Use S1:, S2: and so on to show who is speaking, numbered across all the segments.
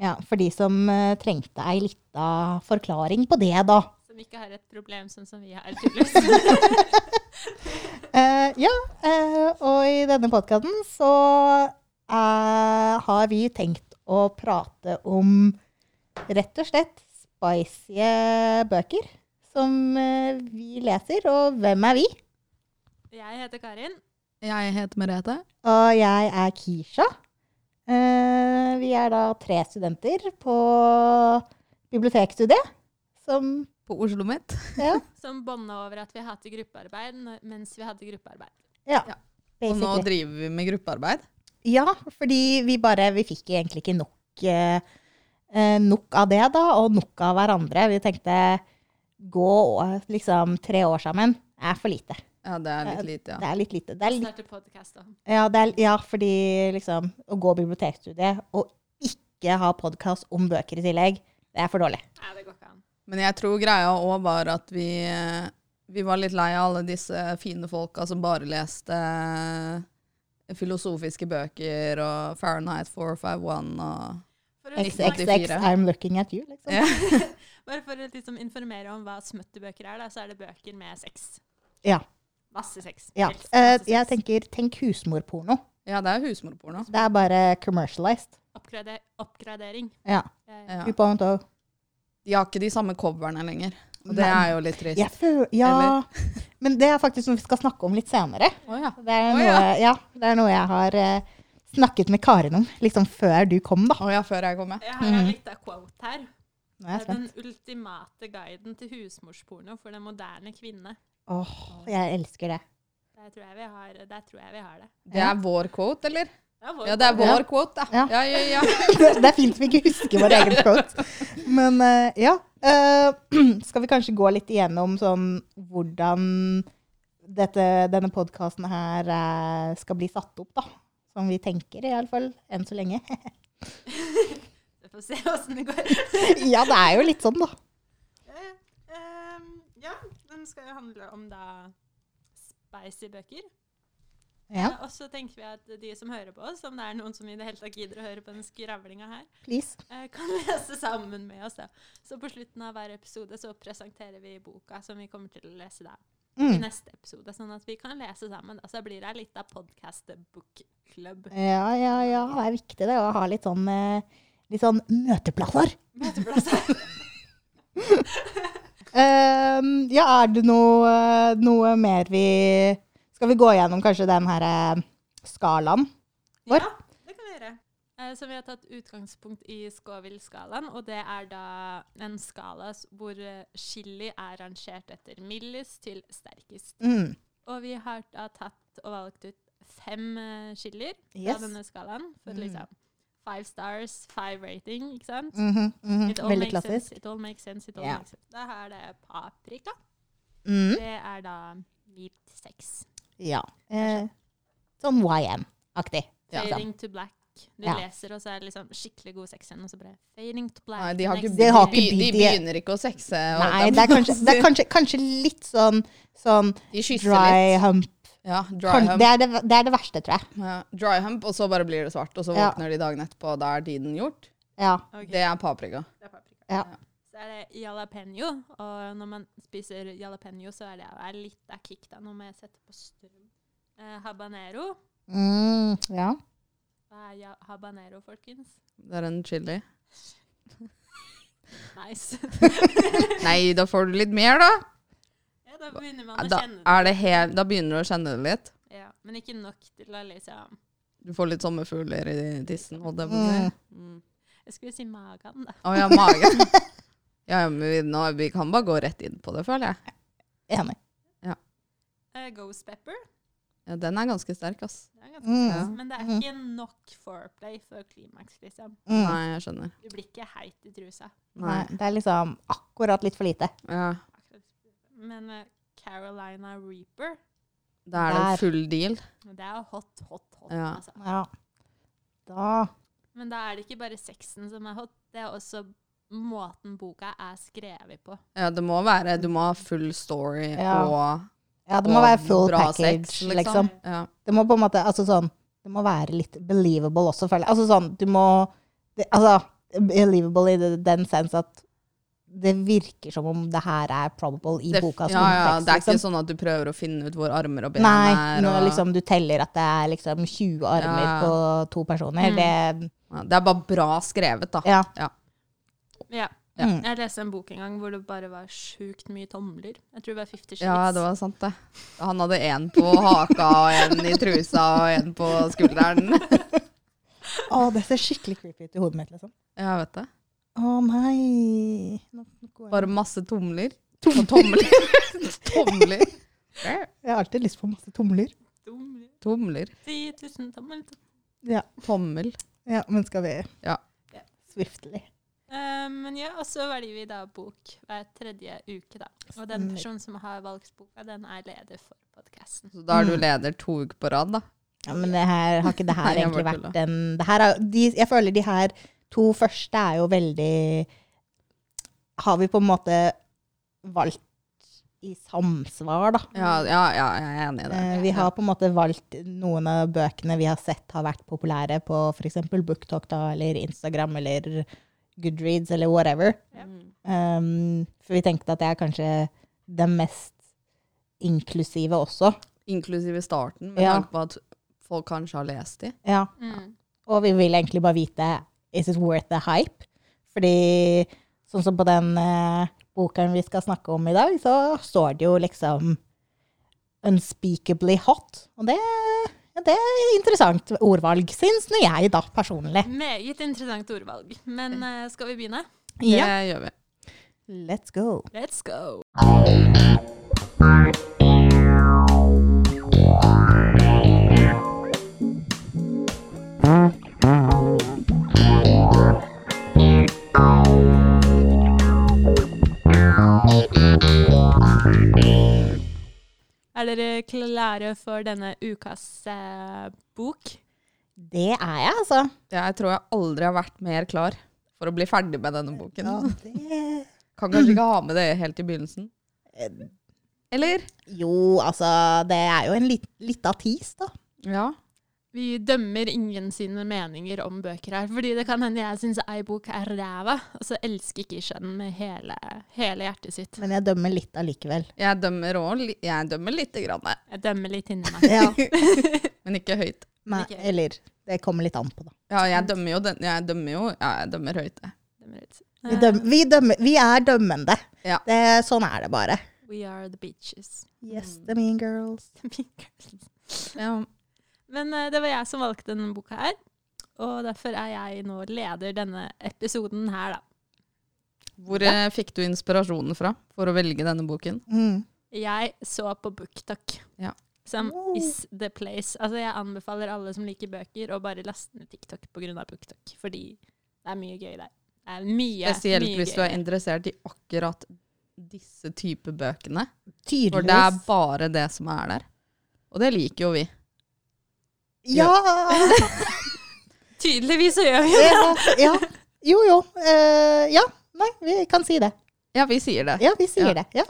S1: Ja, for de som eh, trengte ei lita forklaring på det, da.
S2: Som ikke har et problem sånn som vi har, tydeligvis.
S1: Eh, ja, eh, og i denne podkasten så eh, har vi tenkt å prate om rett og slett spicy bøker som eh, vi leser, og hvem er vi?
S2: Jeg heter Karin.
S3: Jeg heter Merete.
S1: Og jeg er Kisha. Eh, vi er da tre studenter på bibliotekstudiet. Som
S3: På Oslo mitt.
S1: Ja,
S2: Som bånda over at vi hadde gruppearbeid n- mens vi hadde gruppearbeid.
S1: ja,
S3: Ja. Og nå
S1: basically.
S3: driver vi med gruppearbeid.
S1: Ja, fordi vi bare Vi fikk egentlig ikke nok, eh, eh, nok av det, da, og nok av hverandre. Vi tenkte gå og, liksom tre år sammen er for lite.
S3: Ja, det er litt lite,
S1: Det
S3: ja.
S1: er litt lite. Det er litt,
S2: Starte podkast, da.
S1: ja, det er, ja, fordi liksom Å gå bibliotekstudiet og ikke ha podkast om bøker i tillegg, det er for dårlig.
S2: Nei, det går ikke an.
S3: Men jeg tror greia òg var at vi, eh, vi var litt lei av alle disse fine folka som bare leste eh, filosofiske bøker og Fahrenheit 451 og
S2: For å, liksom,
S1: XXX,
S3: 1984.
S1: I'm looking at you, liksom.
S3: Ja.
S2: bare for å liksom informere om hva smøttebøker er, da, så er det bøker med sex.
S1: Ja.
S2: Masse sex.
S1: ja.
S2: Helst
S1: Eh,
S2: masse sex.
S1: jeg tenker, tenk husmorporno.
S3: Ja, det er husmorporno.
S1: Det er bare commercialized.
S2: Oppgrade oppgradering.
S1: Ja.
S2: Eh,
S3: Ja.
S1: 2.0.
S3: De har ikke de samme coverne lenger. Og det
S1: Nei.
S3: er jo litt trist.
S1: Jeg føl- ja. Men det er faktisk noe vi skal snakke om litt senere.
S3: Å, ja.
S1: Det er
S3: Å,
S1: noe, ja, det er noe jeg har eh, snakket med Karin om, liksom før du kom, da.
S3: Å ja, før jeg kom med.
S2: Jeg har
S1: Mm.
S2: en liten quote her.
S1: Nå er jeg
S2: Det er
S1: spent.
S2: den ultimate guiden til husmorsporno for den moderne kvinne.
S1: Åh, jeg elsker det.
S2: Der tror jeg vi har, der tror jeg vi har det.
S3: Det er vår quote, eller?
S2: Det er vår
S3: Ja, det er
S1: Ja.
S3: vår quote, da.
S1: Ja.
S3: Ja, ja, ja.
S1: det er fint vi ikke husker vår egen quote. Men eh, ja. eh, skal vi kanskje gå litt igjennom sånn hvordan dette, denne podkasten her eh, skal bli satt opp, da? Som vi tenker, iallfall. Enn så lenge.
S2: Vi får se åssen det går.
S1: ja, det er jo litt sånn, da.
S2: Ehm, Eh, ja, den skal jo handle om da spicy bøker.
S1: Ja,
S2: Eh, Og så tenker vi at de som hører på oss, om det er noen som i det hele tatt gidder å høre på den skravlinga her,
S1: please.
S2: eh, kan lese sammen med oss. da. Så på slutten av hver episode så presenterer vi boka som vi kommer til å lese da i
S1: Mm.
S2: neste episode, sånn at vi kan lese sammen. Da. Så blir det ei lita podkast-book-klubb.
S1: Ja, ja, ja. Det er viktig det å ha litt sånn, eh, litt sånn møteplasser. Ehm, ja, er det noe, eh, noe mer vi Skal vi gå gjennom kanskje den her eh, skalaen? Hvor?
S2: Ja, det kan vi gjøre. Eh, Så vi har tatt utgangspunkt i Scoville-skalaen, og det er da en skala s- hvor eh, chili er rangert etter mildest til sterkest.
S1: Mm.
S2: Og vi har da tatt og valgt ut fem eh, chilier
S1: Yes. Mm.
S2: fra denne skalaen. For liksom five stars, five rating, ikke sant?
S1: mhm, mhm.
S2: It all
S1: Veldig
S2: makes
S1: klassisk.
S2: Sense, it all makes sense, it all
S1: Ja.
S2: makes sense. Da er det paprika.
S1: Mm.
S2: Det er da hvit sex.
S1: Ja. Eh, sånn YM-aktig.
S3: Ja.
S2: Fading to black. Du
S1: Ja.
S2: leser, og så er det liksom skikkelig god sex igjen, og så bare fading to black.
S3: Nei, de, har ikke,
S2: next
S1: Det har
S2: year.
S1: ikke
S3: de, de
S1: begynt-
S3: begynner ikke å sexe. og
S1: Nei,
S3: de-
S1: det er kanskje, det er kanskje, kanskje litt sånn, sånn
S3: De kysser
S1: dry
S3: litt.
S1: hump.
S3: Ja, dry
S1: Kan-
S3: hump.
S1: Det er det, det er det verste, tror jeg.
S3: Ja, dry hump, og så bare blir det svart. Og så
S1: Ja.
S3: våkner de dagen etterpå, og da er tiden gjort.
S1: Ja.
S2: Ok,
S3: Det er paprika.
S2: det er paprika.
S1: Ja.
S2: Så er det jalapeño, og når man spiser jalapeño, så er det er litt av kick da, når man setter på strøm. Eh, habanero.
S1: Mm, ja.
S2: Hva er ja habanero, folkens?
S3: Det er en chili.
S2: Nice.
S3: Nei, da får du litt mer, da.
S2: ja, da begynner man å
S3: Da,
S2: kjenne det.
S3: er det hel, da begynner du å kjenne det litt.
S2: Ja, men ikke nok til å liksom
S3: Du får litt sommerfugler i tissen. Og det,
S1: Mm.
S3: mm.
S2: Jeg skulle si magen, da.
S3: Å ja, magen. Ja, ja, men vi, nå, vi kan bare gå rett inn på det, føler jeg.
S1: Enig.
S2: Eh, ghost pepper.
S3: Ja, den er ganske sterk, ass.
S2: Det er ganske
S1: Mm.
S2: stas, Men det er
S3: Mm-hmm.
S2: ikke nok foreplay før klimaks, liksom.
S1: Mm.
S3: Nei, jeg skjønner.
S2: Du blir ikke heit i trusa.
S1: Nei,
S3: Nei.
S1: det er liksom akkurat litt for lite.
S3: Ja,
S2: Akkurat. Men eh, Carolina Reaper,
S3: da er det
S1: Der.
S3: en full deal.
S2: det er hot, hot, hot.
S3: Ja.
S2: Altså.
S1: Ja. Da
S2: Men da er det ikke bare sexen som er hot, det er også måten boka er skrevet på.
S3: Ja, det må være Du må ha full story
S1: Ja.
S3: og
S1: Ja, det må
S3: og
S1: være full
S3: bra
S1: package,
S3: sex,
S1: liksom.
S3: Ja.
S1: Det må på en måte Altså sånn Det må være litt believable også, føler jeg. Altså sånn Du må det, Altså believable i det- den sens at det virker som om det her er probable i
S3: Det,
S1: bokas
S3: ja, ja,
S1: kontekst.
S3: det er ikke
S1: liksom.
S3: sånn at du prøver å finne ut hvor armer og ben
S1: Nei,
S3: er.
S1: når
S3: og-
S1: liksom du teller at det er liksom 20 armer
S3: Ja. Mm.
S1: på to personer, det
S3: ja, det er bare bra skrevet, da.
S1: Ja.
S2: Ja.
S1: Ja. Mm.
S2: Jeg leste en bok en gang hvor det bare var sjukt mye tomler. Jeg tror det var Fifty Shades.
S3: Ja, det var sant, det. Han hadde én på haka og én i trusa og én på skulderen.
S1: Å, det ser skikkelig creepy ut i hodet mitt, liksom.
S3: Ja, vet det.
S1: Å nei. Nå- nå går jeg-
S3: Bare masse tomler. Og tomler. tomler.
S1: Jeg har alltid lyst på masse tomler.
S2: Tomler.
S3: Tomler.
S2: 10 000 tomler.
S1: Ja,
S3: Tommel.
S1: ja men skal vi
S3: Ja.
S1: Swiftly.
S2: Eh, men ja, og så velger vi da bok hver tredje uke, da. Og den
S1: Stemmer.
S2: personen som har valgt boka, den er leder for podkasten.
S3: Så da er
S1: Mm.
S3: du leder to uker på rad, da.
S1: Ja, men det her har ikke det her
S3: Nei, jeg
S1: egentlig
S3: bare
S1: vært en det her er, de, Jeg føler de her to første er jo veldig Har vi på en måte valgt i samsvar, da.
S3: Ja, ja, ja jeg er enig i det.
S1: Eh, Vi har på en måte valgt noen av bøkene vi har sett har vært populære på f.eks. BookTok da, eller Instagram eller Goodreads eller whatever.
S2: Ja.
S1: Um, for vi tenkte at det er kanskje den mest inklusive også.
S3: Inklusive starten, med
S1: Ja.
S3: tanke på at folk kanskje har lest de.
S1: Ja.
S2: Mm.
S1: Og vi vil egentlig bare vite Is it worth the hype? Fordi sånn som på den eh, boken vi skal snakke om i dag, så står det jo liksom Unspeakably hot. Og det, ja, det er interessant ordvalg, syns nå jeg, da, personlig.
S2: Meget interessant ordvalg. Men eh, skal vi begynne?
S3: Det
S1: Ja.
S3: gjør vi.
S1: Let's go.
S2: Let's go! Er dere klare for denne ukas eh, bok?
S1: Det er jeg, altså.
S3: Jeg tror jeg aldri har vært mer klar for å bli ferdig med denne boken.
S1: det
S3: Kan kanskje ikke ha med det helt i begynnelsen. Eller?
S1: Jo, altså, det er jo en lit- lita tis, da.
S3: Ja.
S2: Vi dømmer ingen sine meninger om bøker her, fordi det kan hende jeg syns ei bok er ræva, og så elsker ikke jeg den med hele, hele hjertet sitt.
S1: Men jeg dømmer litt allikevel.
S3: Jeg dømmer òg. Jeg dømmer lite grann, jeg.
S2: Jeg dømmer litt inni meg.
S1: Ja.
S3: men ikke høyt.
S1: Nei,
S2: Ok.
S1: eller Det kommer litt an på, da.
S3: Ja, jeg dømmer jo den. Jeg dømmer jo Ja, jeg dømmer høyt, jeg.
S2: Dømmer litt.
S1: Vi, døm, vi, dømmer, vi er dømmende.
S3: Ja.
S1: Det, sånn er det bare.
S2: Eh, We are the bitches.
S1: Yes,
S3: Mm.
S1: the mean girls.
S2: The mean girls.
S3: Ja.
S2: Men eh, det var jeg som valgte denne boka her, og derfor er jeg nå leder denne episoden her, da.
S3: Hvor eh, fikk du inspirasjonen fra for å velge denne boken?
S1: Mm.
S2: Jeg så på BookTok,
S3: Ja.
S2: som
S1: Wow.
S2: is the place. Altså, jeg anbefaler alle som liker bøker, å bare laste ned TikTok pga. BookTok, fordi det er mye gøy der. Det er mye,
S3: Spesielt
S2: mye
S3: hvis du
S2: gøy
S3: er interessert i akkurat disse type bøkene. For det er
S1: Tydeligvis.
S3: bare det som er der. Og det liker jo vi.
S1: Ja!
S2: der. Tydeligvis så gjør vi det!
S1: ja, ja. Jo, jo. Eh, ja. Nei, vi kan si det.
S3: Ja, vi sier det.
S1: Ja, vi sier
S3: Ja.
S1: det. Ja.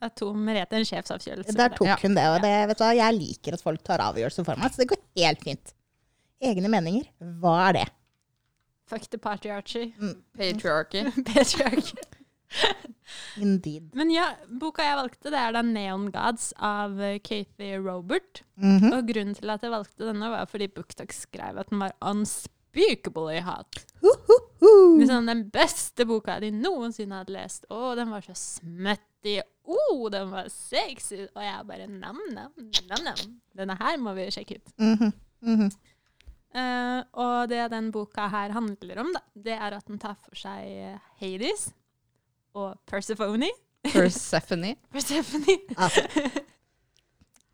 S2: At to Merete en sjefsavkjølelse.
S1: Der tok
S3: Ja.
S1: hun det. Og det, vet du hva, jeg liker at folk tar avgjørelser for meg, så det går helt fint. Egne meninger, hva er det?
S2: Fuck the party, Archie.
S3: Patriarchy.
S2: Patriarch.
S1: Indeed.
S2: Men ja, boka jeg valgte, det er da 'Neon Gods' av eh, Kathy Robert.
S1: Mhm.
S2: Og grunnen til at jeg valgte denne, var fordi BookTok skrev at den var unspeakably hot. Liksom den beste boka de noensinne hadde lest. Å, den var så smettig. Å, den var sexy. Og jeg bare nam, nam, nam, nam. Denne her må vi sjekke ut.
S1: Mhm. Mhm.
S2: Eh, og det den boka her handler om, da, det er at den tar for seg eh, Hades og Persephone.
S3: Persephone.
S2: Persephone.
S1: Altså,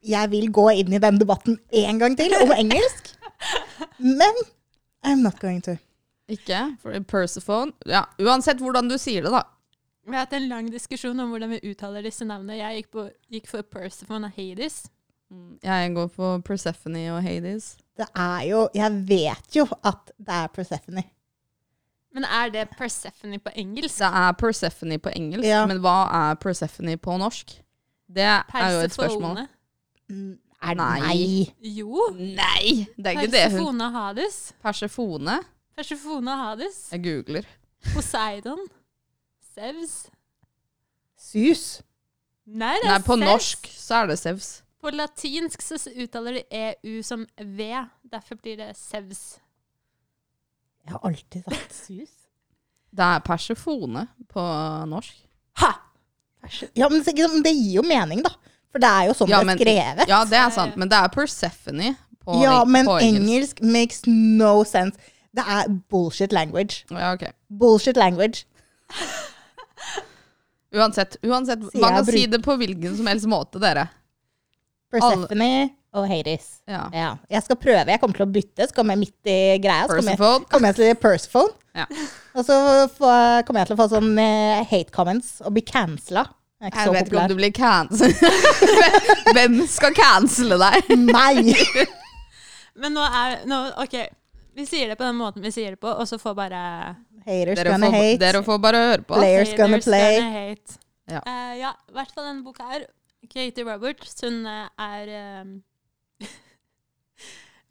S1: jeg vil gå inn i den debatten en gang til om engelsk. Men I'm not going to.
S3: Ikke? For Persephone Ja, uansett hvordan du sier det, da.
S2: Vi har hatt en lang diskusjon om hvordan vi uttaler disse navnene. Jeg gikk, på, gikk for Persephone og Hades.
S3: Jeg går på Persephone og Hades.
S1: Det er jo Jeg vet jo at det er Persephone.
S2: Men er det Persephone på engelsk?
S3: Det er Persephone på engelsk,
S1: Ja.
S3: men hva er Persephone på norsk? Det er jo et spørsmål.
S2: Persefone?
S1: Mm, Er
S3: Nei.
S1: nei.
S2: Jo.
S3: Nei! Det er ikke det hun
S2: Persefone og Hades.
S3: Persefone?
S2: Persefone og Hades.
S3: Jeg googler.
S2: Poseidon. Sevs.
S1: Sus.
S2: Nei, det er
S3: Nei, på
S2: Zeus.
S3: norsk så er det Sevs.
S2: På latinsk så s- uttaler de EU som V. Derfor blir det Sevs.
S1: Jeg har alltid sagt sus.
S3: Det er Persefone på norsk.
S2: Ha!
S1: Ja, men det, sånn, men det gir jo mening, da. For det er jo sånn
S3: Ja,
S1: det
S3: men-
S1: er skrevet.
S3: Ja, det er sant, men det er Persephone på,
S1: Ja, men
S3: på engelsk.
S1: engelsk makes no sense. Det er bullshit language.
S3: Ja, ok.
S1: Bullshit language.
S3: Uansett, uansett
S1: Så
S3: man
S1: jeg
S3: kan si
S1: bruker-
S3: det på hvilken som helst måte, dere.
S1: Persephone og Hades.
S3: Ja.
S1: Ja. Jeg skal prøve. Jeg kommer til å bytte. Så kommer jeg midt i greia. Så kommer jeg,
S3: Persephone.
S1: kommer jeg til Persephone.
S3: Ja.
S1: Og så får- kommer jeg til å få sånn eh, hate comments og bli cancella. Jeg er ikke
S3: Jeg
S1: så
S3: vet ikke om
S1: populær.
S3: du blir cancelled. Hvem skal cancele deg?
S1: Nei!
S2: Men nå er nå, OK. Vi sier det på den måten vi sier det på, og så får bare
S1: Haters
S3: Dere
S1: gonna
S3: får,
S1: hate.
S3: dere får bare høre på.
S1: Play. Haters gonna play.
S2: hate.
S3: Ja.
S2: Eh, ja, i hvert fall denne boka her. Katie Roberts, hun eh, er eh,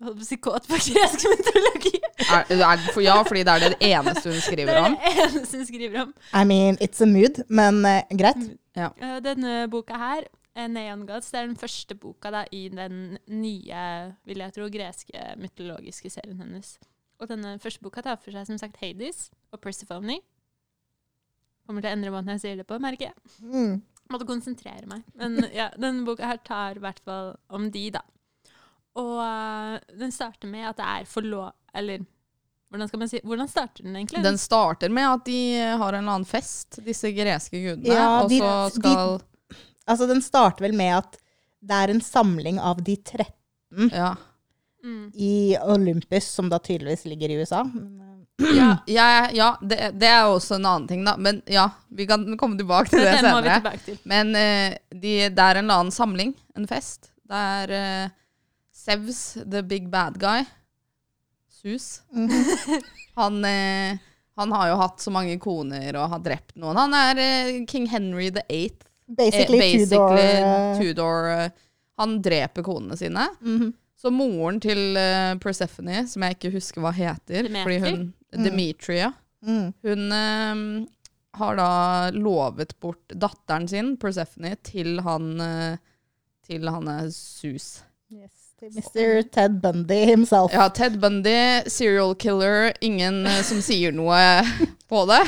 S2: Jeg holdt på å si kåt på gresk mytologi.
S3: Er, er, for, ja, fordi det er det eneste hun
S2: Det
S3: skriver
S2: er
S3: om.
S2: det eneste hun skriver om.
S1: I mean, it's a mood, men eh, greit.
S3: Mm.
S2: Eh, Denne boka her, eh, Neon Gods, det er den første boka da, i den nye, vil jeg tro, greske mytologiske serien hennes. Og denne første boka tar for seg som sagt Hades og Persephone. Kommer til å endre måten jeg sier det på, merker jeg.
S1: Mm.
S2: Måtte konsentrere meg. Men ja, denne boka her tar i hvert fall om de, da. Og eh, den starter med at det er forlov... Eller hvordan skal man si Hvordan starter den egentlig?
S3: Den starter med at de har en eller annen fest, disse greske gudene.
S1: Ja,
S3: og
S1: de-
S3: så
S1: de-
S3: skal
S1: Altså, den starter vel med at det er en samling av de 13
S3: ja.
S2: Mm.
S1: i Olympus, som da tydeligvis ligger i USA. Men, eh,
S3: Ja, jeg- ja det, det er jo også en annen ting, da. Men ja, vi kan komme tilbake til det
S2: Den må vi
S3: senere.
S2: tilbake til.
S3: Men eh, de, det er en eller annen samling, en fest. Det er eh, Sevs, the big bad guy. Sus.
S2: Mm-hmm.
S3: han, eh, han har jo hatt så mange koner og har drept noen. Han er eh, king Henry the Eighth. eh,
S1: Basically, Tudor eh,
S3: Tudor eh, han dreper konene sine.
S1: mhm.
S3: Så moren til eh, Persephone, som jeg ikke husker hva heter fordi
S2: Demeter?
S3: hun, Demetria,
S1: Mm.
S3: hun eh, har da lovet bort datteren sin, Persephone, til han eh, til han er Sus.
S1: Yes, til Mr. Ted Bundy himself.
S3: Ja, Ted Bundy, serial killer, ingen eh, som sier noe på det.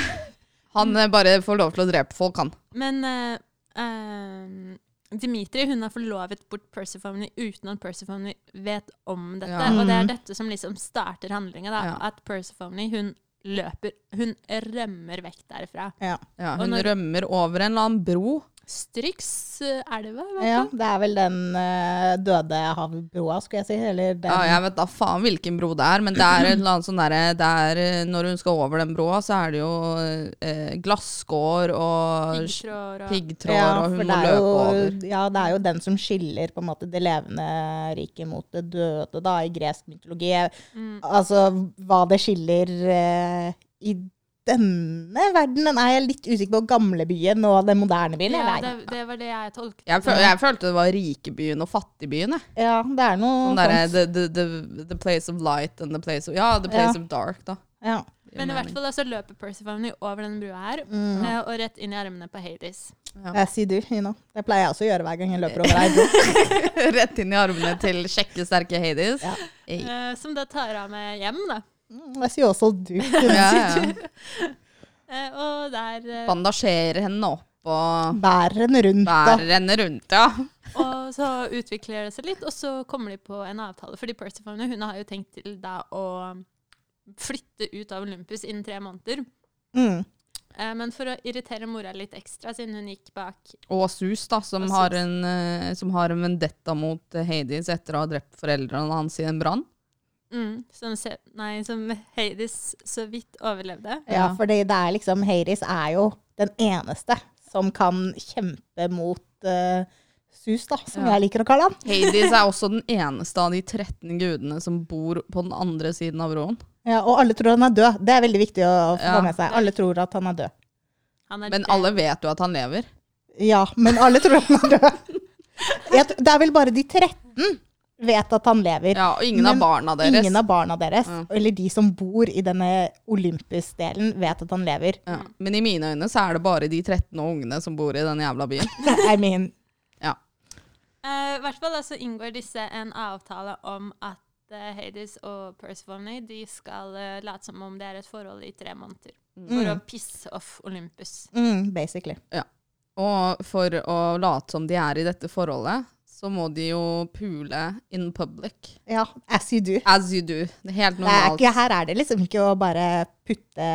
S3: Han eh, bare får lov til å drepe folk, han.
S2: Men eh, ehm, Dimitri hun har forlovet bort Persephone uten at Persephone vet om dette.
S3: Ja. Mm.
S2: Og det er dette som liksom starter handlinga. da,
S3: Ja.
S2: At Persephone hun løper Hun rømmer vekk derfra.
S1: Ja.
S3: Ja,
S2: Og
S3: hun
S2: når-
S3: rømmer over en eller annen bro.
S2: Strykselva, eh, i hvert
S1: Ja,
S2: fall.
S1: det er vel den eh, døde havbroa, skulle jeg si. Eller den.
S3: Ja, jeg vet da faen hvilken bro det er, men det er et eller annet sånn derre det er, eh, Når hun skal over den broa, så er det jo eh, glasskår og s-
S2: Piggtråd og
S3: piggtråd,
S1: Ja,
S3: og
S1: for
S3: hun
S1: det
S3: må
S1: er
S3: løpe
S1: jo,
S3: over.
S1: Ja, det er jo den som skiller på en måte det levende riket mot det døde, da, i gresk mytologi.
S2: Mm.
S1: Altså hva det skiller eh, i denne verdenen, er jeg litt usikker på. Gamlebyen og den moderne byen,
S2: Ja,
S1: eller?
S2: det, det var det jeg tolket.
S3: Jeg, føl jeg følte det var rikebyen og fattigbyen. Jeg.
S1: Ja, det er noe
S3: Sånn derre
S1: sånt.
S3: the, the, the, the place of light and the place of Ja, the place
S1: Ja.
S3: of dark, da.
S1: Ja.
S2: Men i hvert fall da, så løper Persephone over denne brua her,
S3: Mm.
S2: eh, og rett inn i armene på Hades.
S1: Jeg sier du, Ina. Det pleier jeg også å gjøre hver gang jeg løper over ei bro.
S3: Rett inn i armene til kjekke, sterke Hades.
S1: Ja.
S3: Ei.
S2: eh, som da tar av med hjem, da.
S1: Mm, Jeg sier også du.
S3: Ja, ja.
S2: Eh, og der eh,
S3: Bandasjerer henne opp og
S1: Bærer henne rundt, da.
S3: bærer henne rundt, ja.
S2: Og så utvikler det seg litt, og så kommer de på en avtale. Fordi Persephone hun har jo tenkt til da å flytte ut av Olympus innen tre måneder.
S1: Mm.
S2: Eh, men for å irritere mora litt ekstra, siden hun gikk bak
S3: Og Sus, da, som,
S2: Og
S3: har
S2: Sus.
S3: en, eh, som har en vendetta mot eh, Hades etter å ha drept foreldrene hans i en brann.
S2: mm, som, se, nei, som Hades så vidt overlevde.
S1: Ja,
S3: Ja.
S1: for det er liksom Hades er jo den eneste som kan kjempe mot eh, Sus, da, som
S3: Ja.
S1: jeg liker å kalle han.
S3: Hades er også den eneste av de 13 gudene som bor på den andre siden av broen.
S1: Ja, og alle tror han er død. Det er veldig viktig å få
S3: Ja.
S1: med seg. Alle tror at han er død.
S2: Han er
S3: Men
S2: død.
S3: alle vet jo at han lever.
S1: Ja, men alle tror han er død. Jeg, t- det er vel bare de 13 vet at han lever.
S3: Ja, og ingen av
S1: Men
S3: barna deres.
S1: Ingen av barna deres,
S3: Ja.
S1: eller de som bor i denne Olympus-delen, vet at han lever.
S3: ja. Mm. Men i mine øyne så er det bare de 13 ungene som bor i den jævla byen.
S1: I mean,
S3: Ja.
S2: Eh, I hvert fall da, så inngår disse en avtale om at eh, Hades og Persephone de skal eh, late som om det er et forhold i tre måneder. For å pisse off Olympus.
S1: mm, basically.
S3: Og for å late som de er i dette forholdet, så må de jo pule in public.
S1: Ja, as you do.
S3: As you do. Det er helt
S1: Det er
S3: normalt.
S1: ikke, her er det liksom ikke å bare putte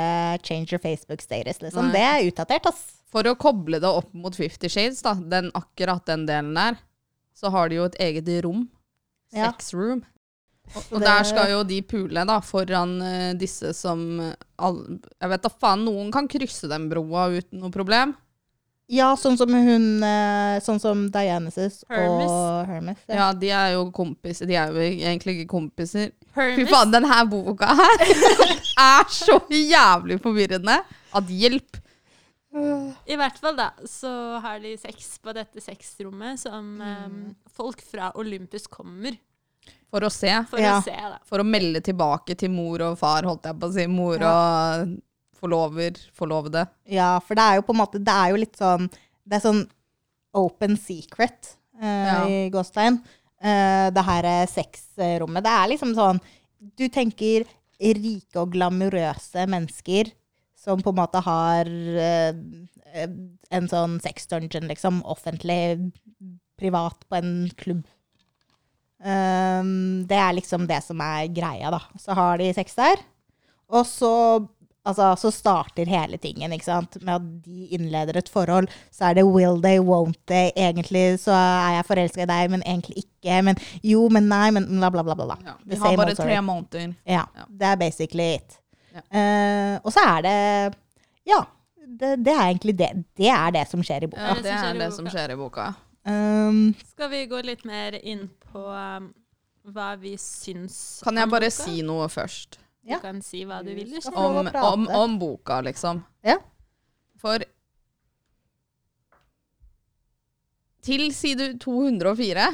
S1: 'change your Facebook status', liksom.
S3: Nei.
S1: Det er utdatert, ass.
S3: For å koble det opp mot Fifty Shades, da, den, akkurat den delen der, så har de jo et eget rom.
S1: Ja.
S3: Sex room. Og,
S1: Så
S3: og
S1: det-
S3: der skal jo de pule da, foran eh, disse som eh, all, Jeg vet da faen, noen kan krysse den broa uten noe problem.
S1: Ja, sånn som hun eh, Sånn som Dionysus og
S2: Hermes.
S1: Hermes. Ja.
S3: Ja, de er jo kompiser. De er jo egentlig ikke kompiser. Fy
S2: Hermes,
S3: faen, den her boka her er så jævlig forvirrende at hjelp.
S2: I hvert fall da, så har de sex på dette sexrommet som eh, folk fra Olympus kommer
S3: For å se.
S2: for
S1: Ja.
S2: å se. da.
S3: For å melde tilbake til mor og far, holdt jeg på å si. Mor og forlover, forlovede.
S1: ja, for det er jo på en måte Det er jo litt sånn Det er sånn open secret eh,
S3: Ja.
S1: i gåstein. Eh, det her eh, sexrommet. Det er liksom sånn Du tenker rike og glamorøse mennesker som på en måte har eh, eh, en sånn sex dungeon, liksom, offentlig, privat, på en klubb. Ehm, det er liksom det som er greia, da. Så har de sex der. Og så, altså, så starter hele tingen ikke sant? med at de innleder et forhold. Så er det will they, won't they. Egentlig så er jeg forelska i deg, men egentlig ikke. Men jo, men nei, men bla, bla, bla. bla, bla.
S3: Ja,
S1: The
S3: de har
S1: same
S3: bare
S1: old story.
S3: tre måneder.
S1: Ja,
S3: Ja.
S1: det er basically it.
S3: Ja.
S1: Eh, og så er det Ja, det, det er egentlig det. Det er det som skjer i boka.
S3: Ja,
S2: Det er det
S3: det
S2: som skjer
S3: er
S2: i
S3: det
S2: boka.
S3: som skjer i boka.
S1: Um,
S2: Skal vi gå litt mer inn på um, hva vi syns
S3: Kan jeg bare si noe først?
S1: Ja.
S2: Du kan si hva du vil.
S1: Du skal
S2: Kjell.
S1: få lov å
S3: Om,
S1: prate.
S3: om, om boka, liksom.
S1: Ja.
S3: For til side 204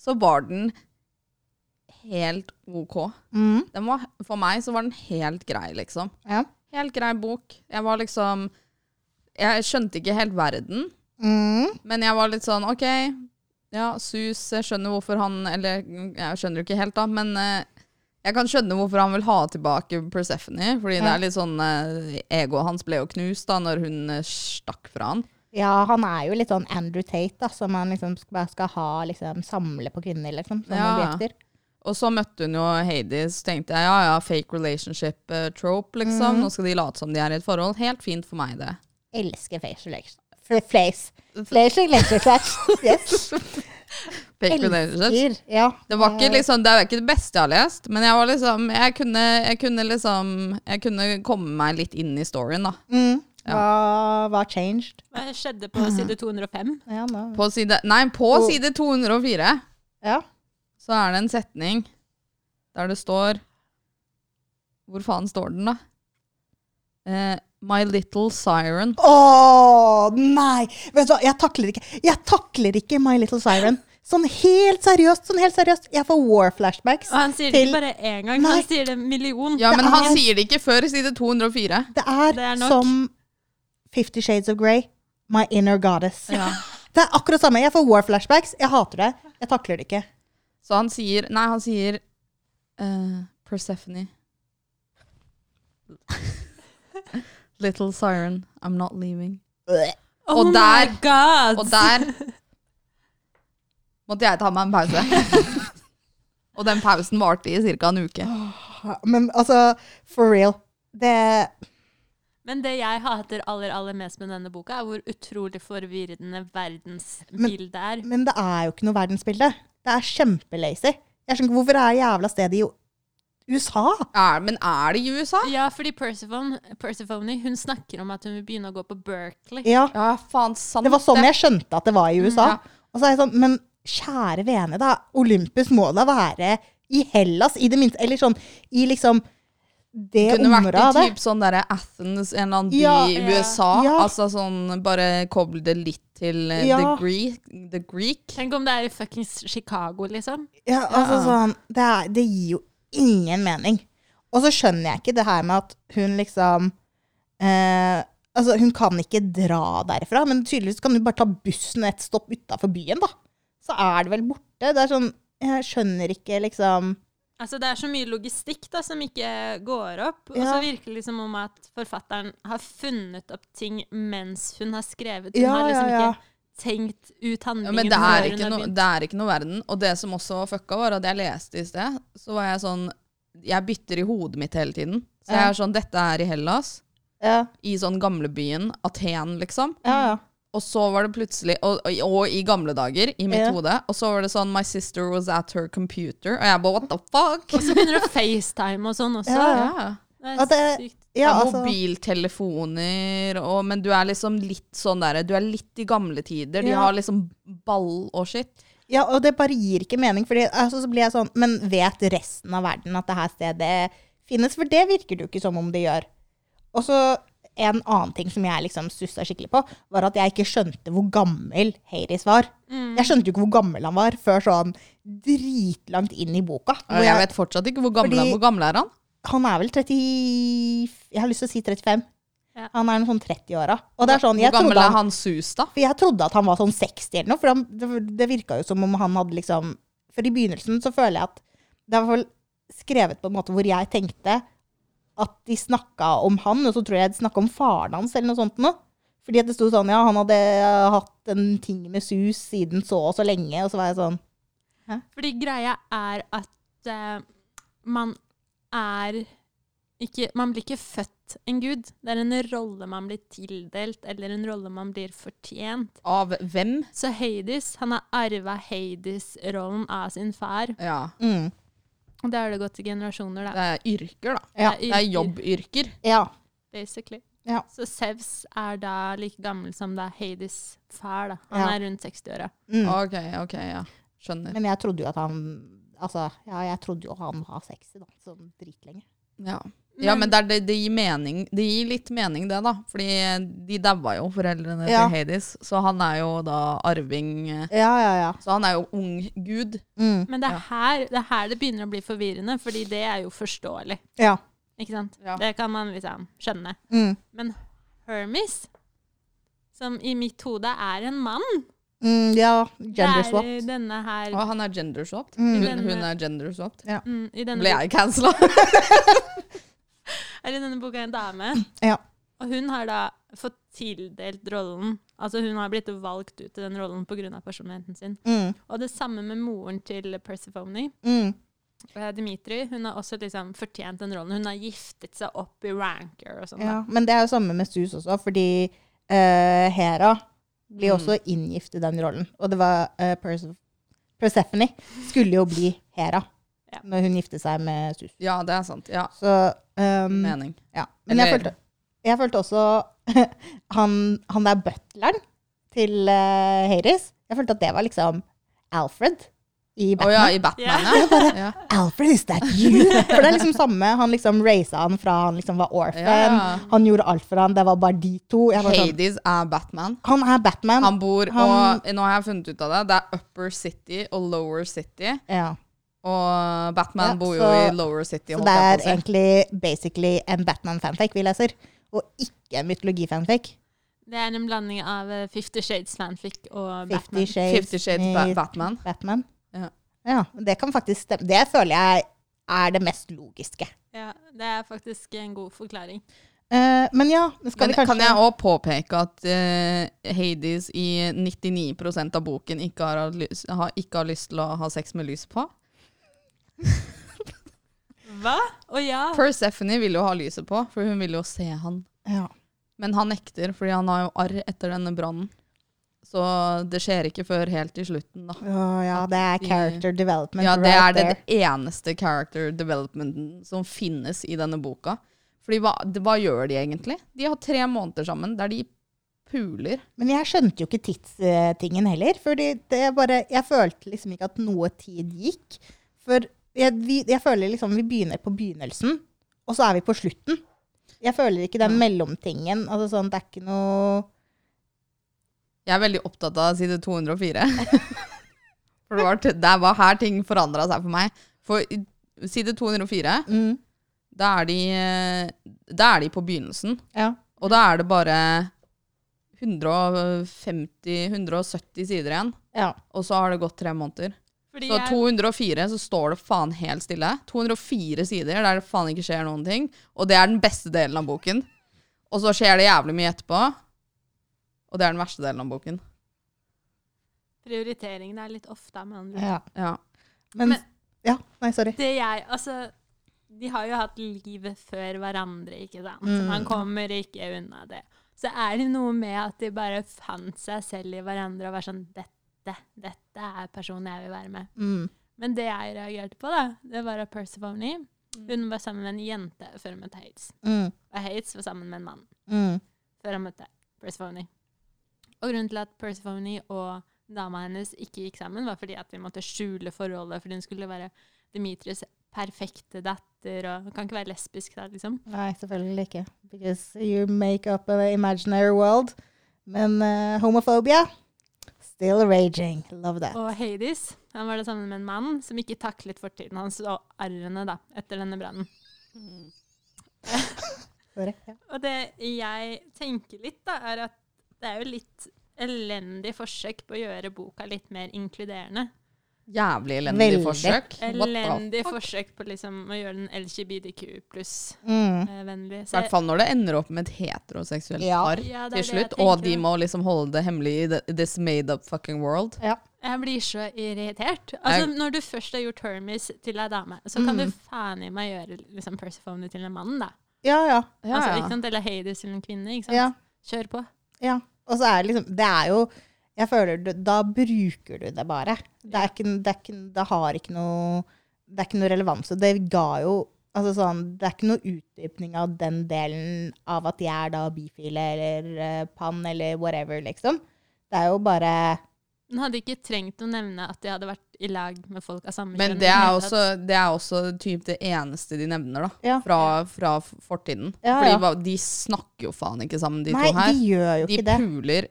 S3: så var den helt OK.
S1: mm,
S3: Den var, for meg så var den helt grei, liksom.
S1: ja.
S3: Helt grei bok. Jeg var liksom Jeg skjønte ikke helt verden,
S1: Mm,
S3: men jeg var litt sånn OK, ja, Sus, jeg skjønner hvorfor han Eller mm, jeg skjønner jo ikke helt, da, men eh, jeg kan skjønne hvorfor han vil ha tilbake Persephone. Fordi det
S1: Ja.
S3: er litt sånn eh, Egoet hans ble jo knust da når hun eh, stakk fra han.
S1: ja, han er jo litt sånn Andrew Tate, da, som han liksom sk- bare skal ha liksom, samle på kvinner, liksom, som
S3: Ja.
S1: objekter.
S3: Og så møtte hun jo Hades, så tenkte jeg ja ja, fake relationship eh, trope, liksom.
S1: Mhm.
S3: Nå skal de late som de er i et forhold. Helt fint for meg, det.
S1: Elsker facial expressions. Flace. Facial expressions. Yes.
S3: Fake relationship.
S1: Elsker. Ja. Eh,
S3: Det var ikke liksom, det er ikke det beste jeg har lest, men jeg var liksom, jeg kunne, jeg kunne liksom, jeg kunne komme meg litt inn i storyen da.
S1: Mm, hva var changed?
S2: Hva skjedde på side 205?
S1: Ja, nå.
S3: På side, nei, på
S1: Og-
S3: side 204
S1: ja.
S3: så er det en setning der det står, hvor faen står den da? Eh, My Little Siren.
S1: Åh, nei! Vet du hva, jeg takler ikke Jeg takler ikke My Little Siren. Sånn helt seriøst, sånn helt seriøst. Jeg får war-flashbacks.
S2: Og han sier det
S1: Til-
S2: ikke bare én gang,
S1: Nei.
S2: han sier det en million.
S3: Ja, men
S1: Det
S3: han
S1: er-
S3: sier det ikke før side 204.
S1: Det er,
S2: Det er nok.
S1: som Fifty Shades of Grey. My inner goddess. Det er akkurat samme. Jeg får war-flashbacks. Jeg hater det. Jeg takler det ikke.
S3: Så han sier, nei, han sier eh, Persephone. Little Siren, I'm not leaving.
S2: Oh
S3: og
S2: my
S3: der-
S2: god!
S3: Og der måtte jeg ta meg en pause. Og den pausen varte i ca. en uke.
S1: Men altså, for real. Det
S2: Men det jeg hater aller aller mest med denne boka, er hvor utrolig forvirrende verdensbildet er.
S1: Men det er jo ikke noe verdensbilde. Det er kjempelazy. Jeg skjønner ikke hvorfor det er jævla stedet i USA.
S3: Er, men er det i USA?
S2: Ja, fordi Persephone, Persephone hun snakker om at hun vil begynne å gå på Berkeley.
S1: Ja,
S3: Ja, faen sant
S1: Det var sånn jeg skjønte at det var i USA.
S3: ja.
S1: Og så er jeg sånn, men kjære vene, da. Olympus må da være i Hellas, i det minste. Eller sånn i liksom det
S3: Det kunne vært
S1: området
S3: i
S1: av det.
S3: typ sånn derre Athens, en eller annen by
S1: Ja,
S3: i
S2: ja.
S3: USA.
S1: Ja.
S3: Altså sånn bare koble det litt til eh, the,
S1: Ja.
S3: Greek, the Greek.
S2: Tenk om det er i fuckings Chicago, liksom.
S1: Ja, altså
S3: Ja.
S1: sånn, det, er, det gir jo ingen mening. Og så skjønner jeg ikke det her med at hun liksom eh, Altså, hun kan ikke dra derfra, men tydeligvis kan hun bare ta bussen et stopp utafor byen, da. Så er det vel borte. Det er sånn Jeg skjønner ikke, liksom
S2: Altså, det er så mye logistikk da, som ikke går opp. Og så
S1: Ja.
S2: virker det liksom om at forfatteren har funnet opp ting mens hun har skrevet. Hun
S1: Ja,
S2: har liksom
S1: ja, ja.
S2: ikke tenkt ut handlingen.
S3: Ja, men det er,
S2: før hun
S3: ikke
S2: har
S3: noe-
S2: begynt.
S3: det er ikke noe verden. Og det som også var fucka, var at jeg leste i sted, så var jeg sånn Jeg bytter i hodet mitt hele tiden. Så jeg
S1: Ja.
S3: er sånn Dette er i Hellas.
S1: Ja,
S3: I sånn gamlebyen Aten, liksom.
S1: ja. ja.
S3: Og så var det plutselig og, og, og i gamle dager, i mitt
S1: Ja.
S3: hode. Og så var det sånn My sister was at her computer. Og jeg bare What the fuck?
S2: Og så begynner du å FaceTime og sånn også.
S1: Ja, ja.
S3: Ja.
S2: Det
S1: Og
S2: er
S1: det-
S2: sykt.
S1: ja
S3: Ja,
S1: altså,
S3: Mobiltelefoner og Men du er liksom litt sånn derre Du er litt i gamle tider. De
S1: Ja.
S3: har liksom ball og shit.
S1: ja, og det bare gir ikke mening. Fordi, altså, så blir jeg sånn Men vet resten av verden at det her stedet finnes? For det virker det jo ikke som om det gjør. Og så en annen ting som jeg liksom stussa skikkelig på, var at jeg ikke skjønte hvor gammel Hades var.
S3: Mm.
S1: Jeg skjønte jo ikke hvor gammel han var før sånn dritlangt inn i boka.
S3: Og
S1: Hvor
S3: jeg
S1: jeg,
S3: vet fortsatt ikke hvor gammel,
S1: Fordi-
S3: han, hvor gammel er han
S1: han er vel 30 Jeg har lyst til å si 35.
S2: Ja.
S1: Han er noen sånn 30-åra. Og det er sånn, jeg
S3: Hvor gammel
S1: trodde han
S3: er han Sus, da?
S1: For jeg trodde at han var sånn 60 eller noe, for han, det, det virka jo som om han hadde liksom For i begynnelsen så føler jeg at det er i hvert fall skrevet på en måte hvor jeg tenkte at de snakka om han, og så tror jeg de snakka om faren hans eller noe sånt noe. Fordi at det sto sånn, ja, han hadde eh, hatt en ting med sus siden så og så lenge, og så var jeg sånn
S2: Fordi greia er at eh, man er ikke, man blir ikke født en gud. Det er en rolle man blir tildelt, eller en rolle man blir fortjent.
S3: Av hvem?
S2: Så Hades han har arva Hades-rollen av sin far.
S3: Ja,
S1: mm,
S2: Og det har det gått i generasjoner, da.
S3: det er yrker, da.
S1: Ja,
S3: Det er jobbyrker.
S1: Ja.
S2: Basically.
S1: Ja.
S2: Så Sevs er da like gammel som da Hades' far. da. Han
S1: Ja.
S2: er rundt 60-åra.
S1: Mm.
S3: Ok, ok, ja. Skjønner.
S1: Men jeg trodde jo at han Altså, ja, jeg trodde jo han var 60, da, sånn dritlenge.
S3: Ja, ja men det, er, det, det, gir mening. det gir litt mening, det, da. Fordi de daua jo, foreldrene
S1: Ja.
S3: til Hades. Så han er jo da arving eh,
S1: Ja, ja, ja.
S3: Så han er jo ung gud.
S1: Mm.
S2: Men det er, her, det er her det begynner å bli forvirrende, fordi det er jo forståelig.
S1: Ja.
S2: Ikke sant?
S3: Ja.
S2: Det kan man liksom skjønne.
S1: Mm.
S2: Men Hermes, som i mitt hode er en mann
S1: Mm, ja. Gender
S2: det
S1: swap. Ah.
S2: er i denne her
S3: Og han er genderswapped.
S1: Mm.
S3: Hun, hun er genderswapped.
S2: mm, i denne,
S3: Ble jeg cancela?
S2: bo- er i denne boka en dame.
S1: Ja.
S2: Og hun har da fått tildelt rollen. Altså hun har blitt valgt ut til den rollen pga. personligheten sin.
S1: Mm,
S2: Og det samme med moren til Persephone.
S1: mm,
S2: eh, Dimitri hun har også liksom fortjent den rollen. Hun har giftet seg opp i ranker og sånn. da.
S1: ja. Men det er jo samme med Sus også, fordi eh, Hera blir også inngift i den rollen. Og det var eh, Perse Persephone skulle jo bli Hera
S2: Ja.
S1: når hun giftet seg med Sus.
S3: Ja, det er sant. Ja,
S1: Så ehm,
S3: mening.
S1: ja. Men jeg
S3: Eller-
S1: følte, jeg følte også han, han der butleren til uh, Hades, jeg følte at det var liksom Alfred i
S3: Å
S1: Batman.
S3: ja, i Batman, ja. ja.
S1: Alfred, is that you? For det er liksom samme. Han liksom raisa han fra han liksom var orphan.
S3: Ja.
S1: Han gjorde alt for han. Det var bare de to. Jeg var sånn,
S3: Hades er Batman.
S1: han er Batman.
S3: Han bor
S1: han-
S3: og Nå har jeg funnet ut av det. Det er Upper City og Lower City.
S1: ja.
S3: Og Batman
S1: Ja,
S3: bor jo
S1: så-
S3: i Lower City.
S1: Så
S3: holdt
S1: det
S3: jeg
S1: er
S3: på å si.
S1: egentlig basically en Batman-fanfic vi leser, og ikke en mytologi-fanfic.
S2: Det er en blanding av eh, Fifty Shades fanfic og
S1: Fifty
S2: Batman.
S1: Shades,
S3: Fifty Shades
S1: med
S3: ba Batman.
S1: Batman.
S3: Ja.
S1: Ja, Det kan faktisk stemme. Det føler jeg er det mest logiske.
S2: Ja, det er faktisk en god forklaring.
S1: Eh, men ja, skal
S3: Men
S1: vi kanskje
S3: kan jeg òg påpeke at eh, Hades i 99 av boken ikke har, hatt lys- har, ikke har lyst til å ha sex med lys på?
S2: Hva? Å ja!
S3: Persephone vil jo ha lyset på, for hun vil jo se han.
S1: Ja.
S3: Men han nekter, fordi han har jo arr etter denne brannen. Så det skjer ikke før helt til slutten, da.
S1: Å, ja, det er character development.
S3: Ja, det
S1: right
S3: er
S1: there.
S3: den eneste character developmenten som finnes i denne boka. Fordi hva, det- hva gjør de egentlig? De har tre måneder sammen der de puler.
S1: Men jeg skjønte jo ikke tidstingen heller. Fordi det bare, jeg følte liksom ikke at noe tid gikk. For jeg, vi, jeg føler liksom vi begynner på begynnelsen, og så er vi på slutten. Jeg føler ikke den mellomtingen. Altså sånn, det er ikke noe
S3: Jeg er veldig opptatt av side 204. For det var, t- det var her ting forandra seg for meg. For i- side 204,
S1: mm,
S3: da er de, eh, da er de på begynnelsen.
S1: Ja.
S3: Og da er det bare 150-170 sider igjen.
S1: Ja.
S3: Og så har det gått tre måneder.
S2: Fordi
S3: Så
S2: jeg,
S3: 204 så står det faen helt stille. 204 sider der det faen ikke skjer noen ting. Og det er den beste delen av boken. Og så skjer det jævlig mye etterpå. Og det er den verste delen av boken.
S2: prioriteringene er litt ofte, med andre ord.
S1: ja.
S3: Ja.
S1: Men,
S2: Men-
S1: Ja, nei, sorry.
S2: Det jeg, altså De har jo hatt livet før hverandre, ikke sant?
S1: Mm.
S2: Man kommer ikke unna det. Så er det noe med at de bare fant seg selv i hverandre og var sånn Dette, dette er personen jeg vil være med.
S1: Mm.
S2: Men det jeg reagerte på, da, det var at Persephone Hun var sammen med en jente før hun møtte Hates.
S1: Mm.
S2: Og Hates var sammen med en mann
S1: Mm.
S2: før han møtte Persephone. Og grunnen til at Persephone og dama hennes ikke gikk sammen, var fordi at de måtte skjule forholdet, fordi hun skulle være Demetrius' perfekte datter, og hun kan ikke være lesbisk da, liksom.
S1: Nei, selvfølgelig ikke. Because you make up an imaginary world. Men eh, homophobia still raging. Love that.
S2: Og Hades, han var da sammen med en mann som ikke taklet fortiden hans og arrene da, etter denne brannen.
S1: Sorry. Ja.
S2: Og det jeg tenker litt, da, er at det er jo litt elendig forsøk på å gjøre boka litt mer inkluderende.
S3: Jævlig elendig
S1: Veldig.
S3: forsøk. What the f-
S2: Elendig forsøk på liksom å gjøre den LGBTQ pluss-vennlig.
S1: Mm.
S3: Hm?
S2: eh,
S3: I hvert fall når det ender opp med et heteroseksuelt
S1: Ja.
S3: par
S2: Ja, det er
S3: til
S2: det jeg
S3: slutt. Og
S2: tenker,
S3: de
S2: da.
S3: må liksom holde det hemmelig i the- this made up fucking world.
S1: ja.
S2: Jeg blir så irritert. Altså,
S3: Jeg- Mm.
S2: Når du først har gjort Hermes til ei dame, så kan du faen i meg gjøre liksom, Persephone til en mann, da.
S1: ja, ja.
S3: Ja,
S2: altså,
S3: ja.
S2: ikke sant? Eller Hades til en kvinne. ikke sant?
S1: Ja,
S2: Kjør på.
S1: ja. Og så er det liksom Det er jo Jeg føler du Da bruker du det bare. Det, er ikke, det, er ikke, det har ikke noe Det er ikke noe relevans. Og det ga jo Altså sånn, det er ikke noe utdypning av den delen av at jeg er da bifil eller eh, pann eller whatever, liksom. Det er jo bare
S2: Hun hadde ikke trengt å nevne at de hadde vært i lag med folk av samme
S3: Men
S2: kjønn.
S3: det
S2: i
S3: er
S2: hele tatt.
S3: også, det, er også typ det eneste de nevner, da.
S1: Ja.
S3: Fra, fra f- fortiden.
S1: Ja,
S3: Fordi
S1: ja.
S3: hva- de snakker jo faen ikke sammen, de
S1: Nei,
S3: to her.
S1: de gjør jo
S3: De
S1: ikke det.
S3: puler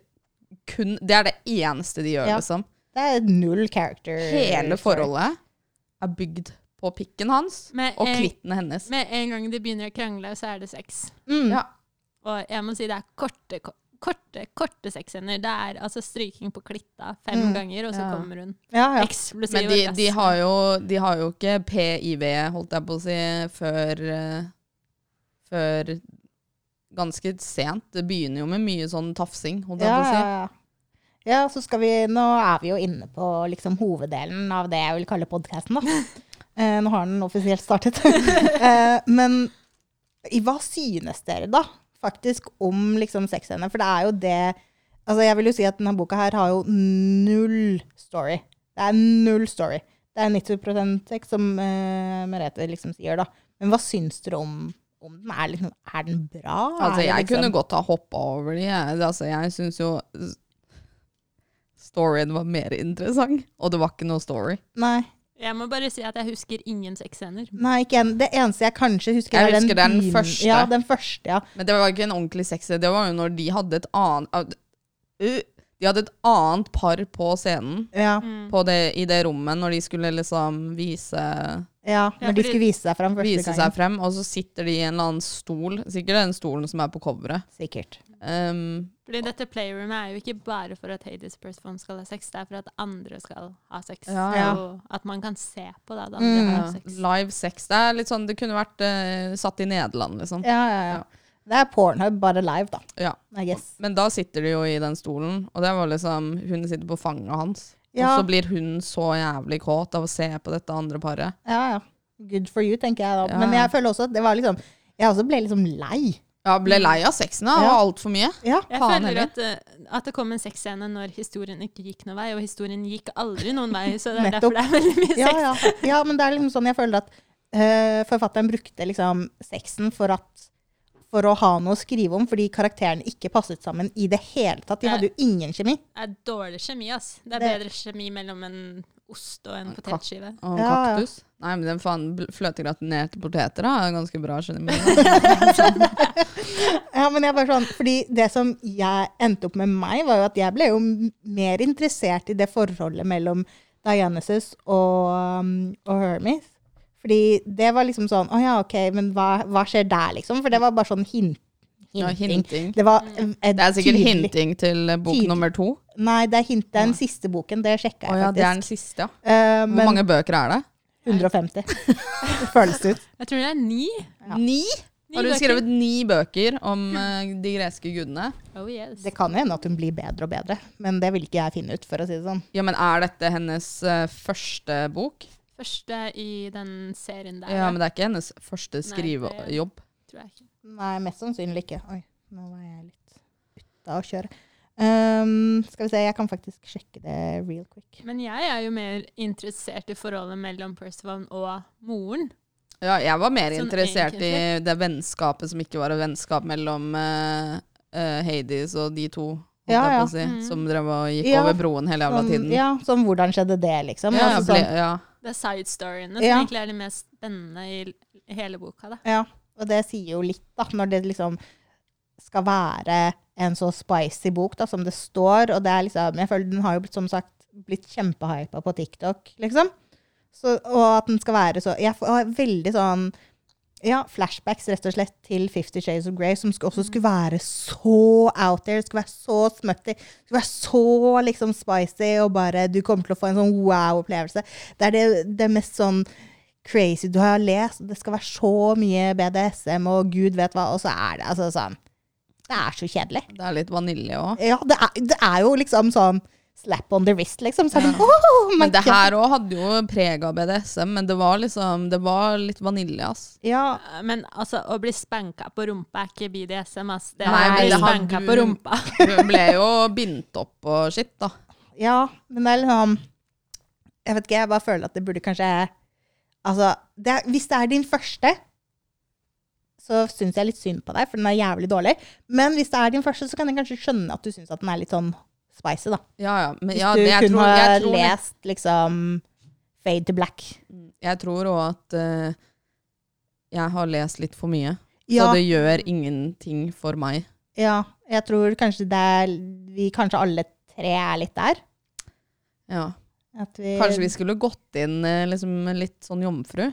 S3: kun Det er det eneste de gjør,
S1: Ja.
S3: liksom.
S1: Det er null character.
S3: Hele forholdet er bygd på pikken hans
S2: Med
S3: og
S2: en-
S3: klitten hennes.
S2: Med en gang de begynner å krangle, så er det sex.
S1: Mm.
S3: Ja.
S2: Og jeg må si det er korte, ko- korte, korte sexscener. Det er altså stryking på klitta fem
S1: Mm.
S2: ganger, og så
S3: Ja.
S2: kommer hun.
S1: Ja, ja.
S2: Eksplosiv
S3: Men de, de,
S2: orgasme.
S3: har jo, de har jo ikke PIV, holdt jeg på å si, før, eh, før ganske sent. Det begynner jo med mye sånn tafsing, holdt jeg
S1: Ja,
S3: på å
S1: ja,
S3: si.
S1: ja. ja, så skal vi Nå er vi jo inne på liksom, hoveddelen av det jeg vil kalle podkasten, da. Eh, nå har den offisielt startet. eh, men i hva synes dere, da, faktisk, om liksom sexscener? For det er jo det Altså, jeg vil jo si at denne boka her har jo null story. Det er null story. Det er 90 sex, som eh, Merete liksom sier, da. Men hva syns dere om, om den? Er, liksom, er den bra?
S3: Altså,
S1: Er det
S3: jeg
S1: liksom-
S3: kunne godt ha hoppa over de. Jeg, altså, jeg syns jo s- storyen var mer interessant, og det var ikke noe story.
S1: liksom- Nei.
S2: Jeg må bare si at jeg husker ingen sexscener.
S1: Nei, ikke en. Det eneste jeg kanskje husker,
S3: Jeg
S1: er
S3: husker den
S1: begyn-
S3: første.
S1: Ja, den første, ja.
S3: Men det var ikke en ordentlig sexy. Det var jo når de hadde et annet av- Øh, De hadde et annet par på scenen
S1: Ja,
S2: Mm.
S3: på det, i det rommet når de skulle liksom vise
S1: ja når de
S2: fordi-
S1: skulle vise seg fram første
S3: vise seg
S1: gangen.
S3: frem, og så sitter de i en eller annen stol. Sikkert den stolen som er på coveret.
S1: Sikkert.
S3: Um,
S2: Fordi dette playroomet er jo ikke bare for at Hades Persephone skal ha sex, det er for at andre skal ha sex.
S3: Ja,
S1: ja.
S2: Og at man kan se på det at andre
S1: Mm.
S2: har
S3: ja,
S2: sex.
S3: live sex. Det er litt sånn, det kunne vært eh, satt i Nederland, liksom.
S1: Ja, ja, ja. Det er Pornhub, bare live, da.
S3: Ja.
S1: I guess.
S3: Men da sitter de jo i den stolen, og det var liksom Hun sitter på fanget hans.
S1: Ja.
S3: Og så blir hun så jævlig kåt av å se på dette andre paret.
S1: Ja, ja. Good for you, tenker jeg da.
S3: Ja,
S1: Men
S3: ja.
S1: jeg føler også at det var liksom Jeg også ble liksom lei.
S3: Ja, Ja, ble lei av sexen da, og
S1: Ja.
S3: altfor mye.
S1: Ja.
S2: Jeg
S3: Faen
S2: føler
S3: heller.
S2: at, eh, at det kom en sexscene når historien ikke gikk noen vei, og historien gikk aldri noen vei, så det er
S1: Nettopp.
S2: derfor det er veldig mye sex.
S1: Ja, ja. ja, men det er liksom sånn jeg føler at eh, forfatteren brukte liksom sexen for at for å ha noe å skrive om, fordi karakterene ikke passet sammen i det hele tatt. De
S2: Nei.
S1: hadde jo ingen kjemi.
S2: Det er dårlig kjemi, ass. Det er
S1: Det-
S2: bedre kjemi mellom en ost og en
S3: Og
S2: potetskive.
S3: Og
S1: Ja, ja.
S3: kaktus. Nei, men den faen bl- fløtegratinerte poteter da, er ganske bra. skjønner jeg.
S1: Ja, men jeg bare sånn, fordi det som jeg endte opp med meg, var jo at jeg ble jo m- mer interessert i det forholdet mellom Dionysus og, um, og Hermes. Fordi det var liksom sånn, å ja, ok, men hva, hva skjer der liksom? For det var bare sånn hint,
S3: Ja,
S1: hinting.
S3: hinting. Mm.
S1: Det, var, eh,
S3: Det er sikkert
S1: tydelig-
S3: hinting til eh, bok
S1: Tydelig.
S3: nummer to.
S1: Nei, det er hint, det er den siste boken, det sjekket
S3: Å
S1: jeg
S3: ja, det er
S1: faktisk.
S3: den siste, ja.
S1: Eh,
S3: Hvor
S1: men
S3: mange bøker er det?
S1: 150. Det føles ut.
S2: Jeg tror det er ni.
S1: Ja.
S3: Ni?
S2: Ni
S3: Har hun
S2: bøker.
S3: skrevet ni bøker om eh, de greske gudene?
S2: Oh yes.
S1: Det kan jo hende at hun blir bedre og bedre, men det vil ikke jeg finne ut, for å si det sånn.
S3: Ja, men er dette hennes eh, første bok?
S2: Første i den serien der,
S3: Ja, men det er ikke hennes
S2: Nei,
S3: første
S2: det-
S3: skrivejobb.
S2: tror jeg ikke.
S1: Nei, mest sannsynlig ikke. Oi, nå var jeg litt ute av å kjøre. Ehm, skal vi se, jeg kan faktisk sjekke det real quick.
S2: Men jeg er jo mer interessert i forholdet mellom Percival og moren.
S3: Ja, jeg var mer
S2: Sånn
S3: interessert i
S2: egentlig.
S3: det vennskapet som ikke var et vennskap mellom eh, eh, Hades og de to, holdt
S1: Ja,
S3: jeg på
S1: ja.
S3: å si,
S2: Mm.
S3: som drev og gikk
S1: Ja,
S3: over broen hele jævla
S1: Sånn,
S3: tiden.
S1: ja, sånn hvordan skjedde det, liksom?
S3: Ja,
S1: altså,
S3: ble,
S1: sånn,
S3: ja.
S2: Det er side-storyene som
S1: Ja.
S2: egentlig er de mest spennende i l- hele boka. Da.
S1: sånn, ja, og det sier jo litt, da, når det liksom skal være en så spicy bok da, som det står, og det er liksom Jeg føler den har jo blitt, som sagt, blitt kjempehypa på TikTok, liksom. Så, og at den skal være så Jeg får veldig sånn ja, flashbacks rett og slett til Fifty Shades of Grey, som skulle, også skulle
S3: Mm.
S1: være så out there, skulle være så smutty, skulle være så liksom spicy, og bare du kommer til å få en sånn wow-opplevelse. Det er det, det mest sånn crazy du har lest, og det skal være så mye BDSM og gud vet hva, og så er det altså sånn Det er så kjedelig.
S3: Det er litt vanilje òg.
S1: Ja, det er, det er jo liksom sånn slap on the wrist, liksom. Så er det, oh, my
S3: Men det
S1: God.
S3: her òg hadde jo preg av BDSM, men det var liksom Det var litt vanilje, ass.
S1: ja,
S2: Men altså, å bli spanka på rumpa er ikke BDSM, ass. Det er
S3: Nei,
S2: å
S1: men
S2: bli
S1: det
S3: har
S2: spanka
S3: du-
S2: på rumpa.
S3: Hun ble jo bindt opp og shit, da.
S1: ja, men det er liksom Jeg vet ikke, jeg bare føler at det burde kanskje Altså, det er, hvis det er din første, så syns jeg litt synd på deg, for den er jævlig dårlig. Men hvis det er din første, så kan jeg kanskje skjønne at du syns at den er litt sånn spicy, da.
S3: Ja, ja. Men
S1: Hvis
S3: ja,
S1: du
S3: det, jeg,
S1: kunne
S3: tror, jeg,
S1: ha
S3: tror, litt-
S1: lest liksom Fade to Black.
S3: jeg tror òg at eh, jeg har lest litt for mye.
S1: Ja,
S3: Så det gjør ingenting for meg.
S1: ja, jeg tror kanskje det er Vi kanskje alle tre er litt der.
S3: Ja.
S1: At vi,
S3: Kanskje vi skulle gått inn eh, liksom, litt sånn jomfru.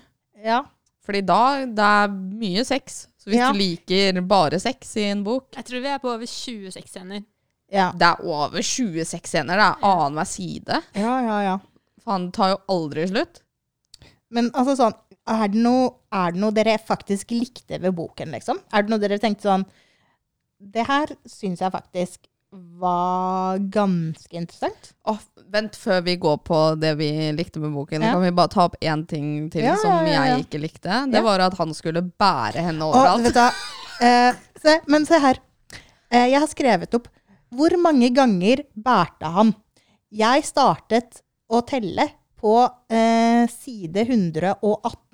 S1: Ja.
S3: Fordi da det er mye sex. Så hvis
S1: Ja.
S3: du liker bare sex i en bok
S2: Jeg tror vi er på over 20 sexscener.
S1: Ja,
S3: Det er over 20 sexscener. Det er annenhver side.
S1: ja, ja. ja.
S3: Faen, det tar jo aldri slutt.
S1: Men altså sånn, er det, noe, er det noe dere faktisk likte ved boken, liksom? Er det noe dere tenkte sånn Det her syns jeg faktisk var ganske interessant.
S3: Åh, vent, før vi går på det vi likte med boken,
S1: Ja.
S3: kan vi bare ta opp én ting til
S1: Ja,
S3: som
S1: ja, ja, ja.
S3: jeg ikke likte. Det
S1: Ja.
S3: var at han skulle bære henne
S1: Og
S3: overalt.
S1: vet du hva? Eh, se, men se her. Eh, jeg har skrevet opp hvor mange ganger bærte han. Jeg startet å telle på eh, side 118,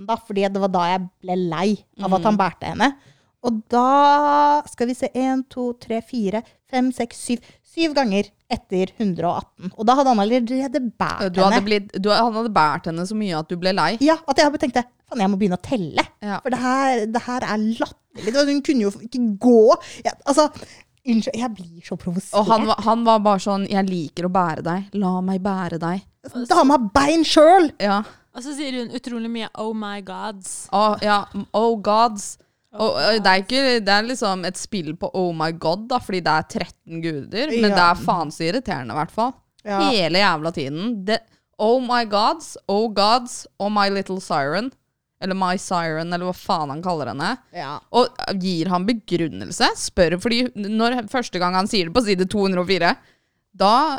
S1: da, fordi det var da jeg ble lei av
S3: Mm.
S1: at han bærte henne. Og da skal vi se 1, 2, 3, 4, 5, 6, 7. Syv ganger etter 118. Og da hadde han allerede bært
S3: Du hadde
S1: henne.
S3: blitt, du, han hadde bært henne så mye at du ble lei.
S1: Ja, At jeg tenkte faen, jeg må begynne å telle.
S3: Ja.
S1: For det her, det her er latterlig. Det var- Hun kunne jo ikke gå. Jeg, altså, unnskyld, jeg blir så provosert.
S3: Og han, var- han var bare sånn 'Jeg liker å bære deg. La meg bære deg'.
S1: Dama har bein sjøl!
S3: Ja.
S2: Og så sier hun utrolig mye 'oh my gods'.
S3: Å, ja. Oh gods.
S1: Oh
S3: Og, og det, er ikke, det er liksom et spill på oh my god, da, fordi det er 13 guder. Men det
S1: Ja.
S3: er faen så irriterende, i hvert fall.
S1: Ja.
S3: Hele jævla tiden. Det, oh my gods, oh gods, oh my little siren. Eller my siren, eller hva faen han kaller henne.
S1: Ja.
S3: Og gir han begrunnelse? Spør, fordi når første gang han sier det på side 204, da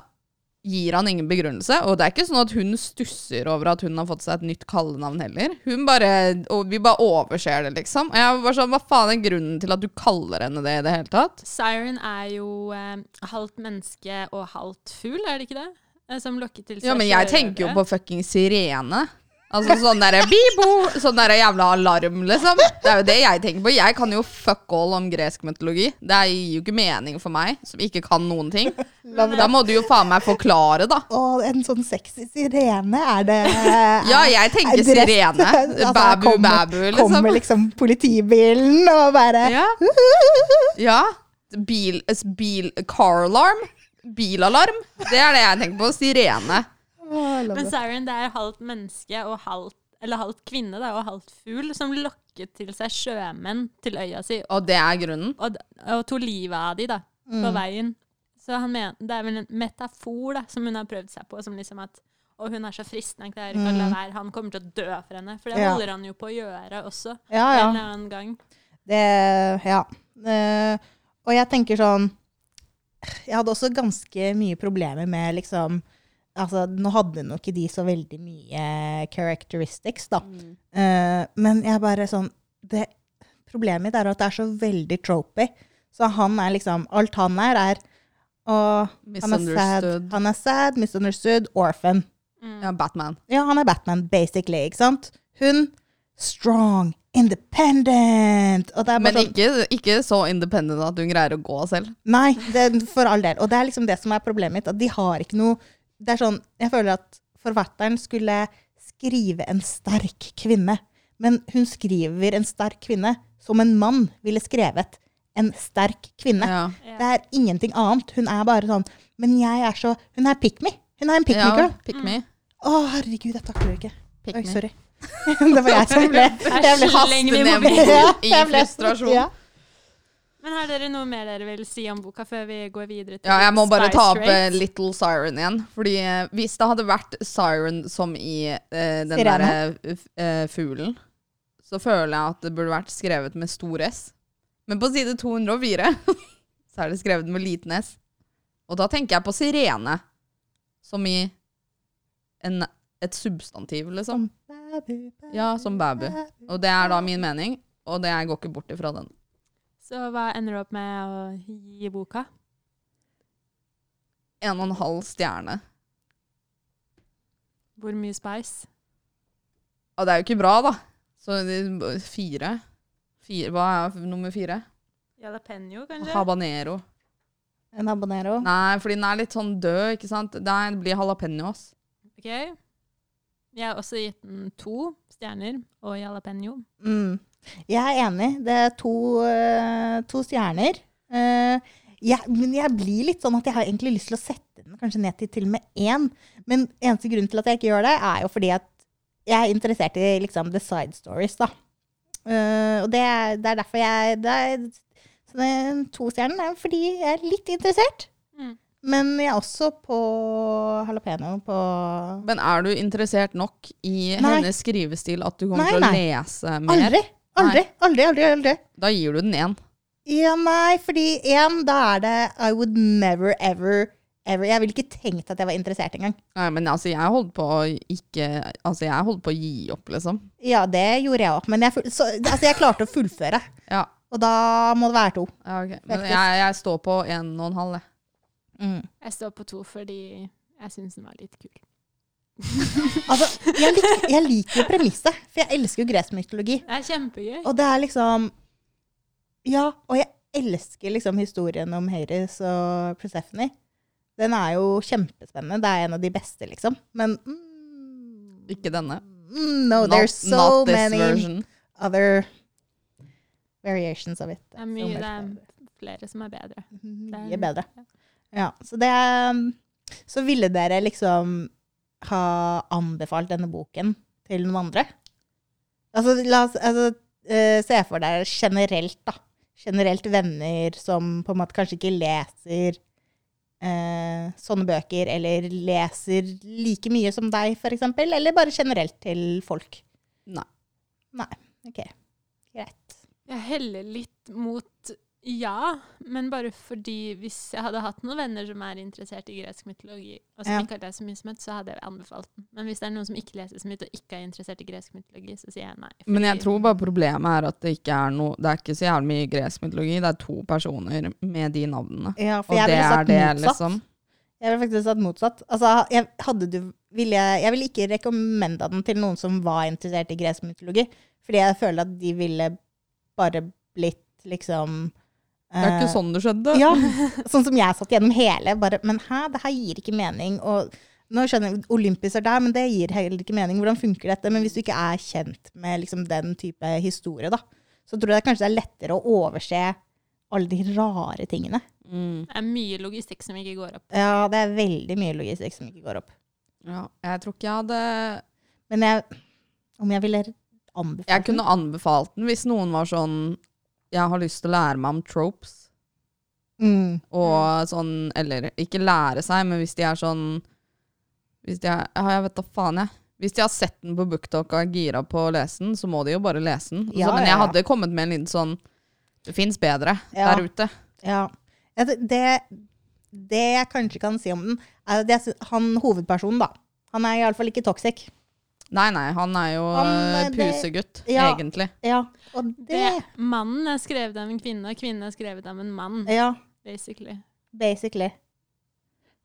S3: gir han ingen begrunnelse. Og det er ikke sånn at hun stusser over at hun har fått seg et nytt kallenavn heller. Hun bare, og Vi bare overser det, liksom. Og jeg var bare sånn, Hva faen er grunnen til at du kaller henne det i det hele tatt?
S2: Siren er jo eh, halvt menneske og halvt fugl, er det ikke det? Eh, Som lokker til seg
S3: Ja, men jeg
S2: sjørøvere.
S3: tenker jo på fucking sirene. Altså sånn derre bibo, sånn derre jævla alarm, liksom. Det er jo det jeg tenker på. Jeg kan jo fuck all om gresk mytologi. Det gir jo ikke mening for meg, som ikke kan noen ting. Da må du jo faen meg forklare, da.
S1: Og en sånn sexy sirene, er det er-
S3: Ja, jeg tenker
S1: er dress-
S3: sirene.
S1: Altså,
S3: Babu,
S1: kommer-
S3: babu, liksom.
S1: Kommer liksom politibilen og bare
S3: Ja. ja. Bil, s- bil, car alarm. Bilalarm. Det er det jeg tenker på. Sirene.
S1: Å, love
S2: Men
S1: it.
S2: Siren det er halvt menneske og halvt, eller halvt kvinne da, og halvt fugl som lokket til seg sjømenn til øya si.
S3: Og det er grunnen.
S2: Og, og tok livet av de da, på
S3: Mm.
S2: veien. Så han men, det er vel en metafor da, som hun har prøvd seg på, som liksom at og hun er så fristende, jeg klarer ikke å la
S3: Mm.
S2: være. Han kommer til å dø for henne. For det
S1: Ja.
S2: holder han jo på å gjøre også.
S1: Ja, ja.
S2: En eller annen gang.
S1: Det Ja. Eh, og jeg tenker sånn Jeg hadde også ganske mye problemer med liksom Altså, nå hadde nok ikke de så veldig mye characteristics, da.
S3: Mm.
S1: Eh, men jeg bare sånn det, Problemet mitt er at det er så veldig tropey. Så han er liksom Alt han er, er og han er sad,
S3: Misunderstood.
S1: han er sad, misunderstood, orphan.
S3: Ja, Batman.
S1: Ja, han er Batman, basically, ikke sant? Hun strong, independent. Og det er bare
S3: Men
S1: sånn,
S3: ikke, ikke så independent at hun greier å gå selv.
S1: Nei, det, for all del. Og det er liksom det som er problemet mitt. At de har ikke noe Det er sånn Jeg føler at forfatteren skulle skrive en sterk kvinne. Men hun skriver en sterk kvinne som en mann ville skrevet en sterk kvinne.
S3: Ja.
S1: Det er ingenting annet. Hun er bare sånn Men jeg er så Hun er pick me. Hun er en pick me
S3: Ja,
S1: girl.
S3: pick me.
S1: Å, herregud, jeg takler det ikke.
S3: Pick
S1: Oi,
S3: me.
S1: sorry. det var jeg som ble Jeg ble
S2: Æsj, legg den i
S3: Hastenevn
S2: mobilen.
S3: i
S1: jeg ble-
S3: frustrasjon.
S1: Ja.
S2: Men har dere noe mer dere vil si om boka før vi går videre til
S3: Ja, jeg må bare
S2: Spice
S3: ta opp eh,
S2: Rates?
S3: Little Siren igjen. Fordi eh, hvis det hadde vært Siren som i eh, den
S1: Sirene.
S3: derre eh, fuglen, så føler jeg at det burde vært skrevet med stor S. Men på side 204 så er det skrevet med liten S. Og da tenker jeg på sirene. Som i en, et substantiv, liksom.
S1: Babu, babu,
S3: Ja, som babu. Og det er da min mening, og det jeg går ikke bort ifra den.
S2: Så hva ender du opp med å gi boka?
S3: En og en halv stjerne.
S2: Hvor mye spice?
S3: Og det er jo ikke bra, da. Så det- fire. fire. Hva er f- nummer fire?
S2: Jalapeño,
S3: Habanero.
S1: En abonnero.
S3: Nei, fordi den er litt sånn død, ikke sant? Nei, det blir jalapeños.
S2: Ok. Jeg har også gitt den to stjerner og jalapeño.
S1: Mm. Jeg er enig. Det er to, eh, to stjerner. Eh, jeg, men jeg blir litt sånn at jeg har egentlig lyst til å sette den kanskje ned til til og med én. Men eneste grunn til at jeg ikke gjør det, er jo fordi at jeg er interessert i liksom, the side stories. da. Eh, og det er, det er derfor jeg det er, så det er To stjerner er fordi jeg er litt interessert.
S2: Mm.
S1: Men jeg er også på jalapeño på
S3: Men er du interessert nok i
S1: Nei.
S3: hennes skrivestil at du kommer
S1: Nei,
S3: til å
S1: nei.
S3: lese mer?
S1: Aldri! Aldri, aldri, aldri, aldri.
S3: Da gir du den én.
S1: Ja, nei, fordi én, da er det I would never, ever, ever Jeg ville ikke tenkt at jeg var interessert engang.
S3: Nei, men altså, jeg holdt på å ikke Altså, jeg holdt på å gi opp, liksom.
S1: Ja, det gjorde jeg òg, men jeg, ful- så, altså, jeg klarte å fullføre.
S3: Ja,
S1: Og da må det være to.
S3: ja ok. Men
S1: Faktisk.
S3: jeg, jeg står på en og en halv, jeg. Mm.
S2: Jeg står på to fordi jeg syns den var litt kul.
S1: Altså, jeg, lik, jeg liker jo premisset, for jeg elsker jo gresk mytologi.
S2: Det er kjempegøy.
S1: Og det er liksom Ja, og jeg elsker liksom historien om Hades og Persephone. Den er jo kjempespennende. Det er en av de beste, liksom. Men mm,
S3: Ikke denne.
S1: mm, No,
S3: Not-
S1: there's so
S3: not this
S1: many
S3: version.
S1: other variations of it.
S2: Det er mye,
S1: So much
S2: det er
S1: better.
S2: flere som er bedre.
S1: Mye bedre. Ja, så det um, Så ville dere liksom ha anbefalt denne boken til noen andre? Altså, la oss altså, eh, se for deg generelt, da. Generelt venner som på en måte kanskje ikke leser eh, sånne bøker, eller leser like mye som deg, for eksempel, eller bare generelt til folk.
S3: Nei.
S1: Nei. Ok, greit.
S2: Jeg heller litt mot Ja, men bare fordi hvis jeg hadde hatt noen venner som er interessert i gresk mytologi, og som
S1: Ja.
S2: ikke har lest så mye som et, så hadde jeg anbefalt den. Men hvis det er noen som ikke leser så mye, og ikke er interessert i gresk mytologi, så sier jeg nei.
S3: Men jeg
S2: fordi-
S3: tror bare problemet er at det ikke er noe Det er ikke så jævlig mye gresk mytologi. Det er to personer med de navnene.
S1: Ja, for
S3: Og
S1: jeg
S3: det
S1: ville
S3: er
S1: sagt
S3: det,
S1: motsatt.
S3: liksom.
S1: Jeg ville faktisk sagt motsatt. Altså, jeg, hadde du, ville, jeg ville ikke rekommenda den til noen som var interessert i gresk mytologi, fordi jeg føler at de ville bare blitt liksom
S3: Det er
S1: eh,
S3: ikke sånn det skjedde.
S1: Ja, sånn som jeg satt gjennom hele. Bare, men hæ, det her gir ikke mening. Og nå skjønner jeg, Olympus er der, men det gir heller ikke mening. Hvordan funker dette? Men hvis du ikke er kjent med liksom, den type historie, da, så tror jeg kanskje det er lettere å overse alle de rare tingene.
S3: Mm.
S2: Det er mye logistikk som ikke går opp.
S1: Ja, det er veldig mye logistikk som ikke går opp.
S3: ja. Jeg tror ikke jeg hadde
S1: Men jeg, om jeg ville anbefalt
S3: Jeg kunne anbefalt den hvis noen var sånn Jeg har lyst til å lære meg om tropes.
S1: mm.
S3: Og sånn Eller ikke lære seg, men hvis de er sånn Hvis de er Ja, jeg vet da faen, jeg. Hvis de har sett den på BookTok og er gira på å lese den, så må de jo bare lese den.
S1: Ja,
S3: så, men
S1: ja,
S3: jeg
S1: ja.
S3: hadde kommet med en liten sånn Det fins bedre
S1: Ja.
S3: der ute.
S1: Ja. Jeg tror Det, det jeg kanskje kan si om den, er at jeg sy- han hovedpersonen, da. Han er iallfall ikke toxic.
S3: Nei, nei, han er jo
S1: Han,
S3: eh,
S1: det-
S3: pusegutt,
S1: Ja.
S3: egentlig.
S1: Ja, og
S2: Det,
S1: det
S2: mannen er skrevet av en kvinne, og kvinnen er skrevet av en mann,
S1: Ja,
S2: basically.
S1: basically.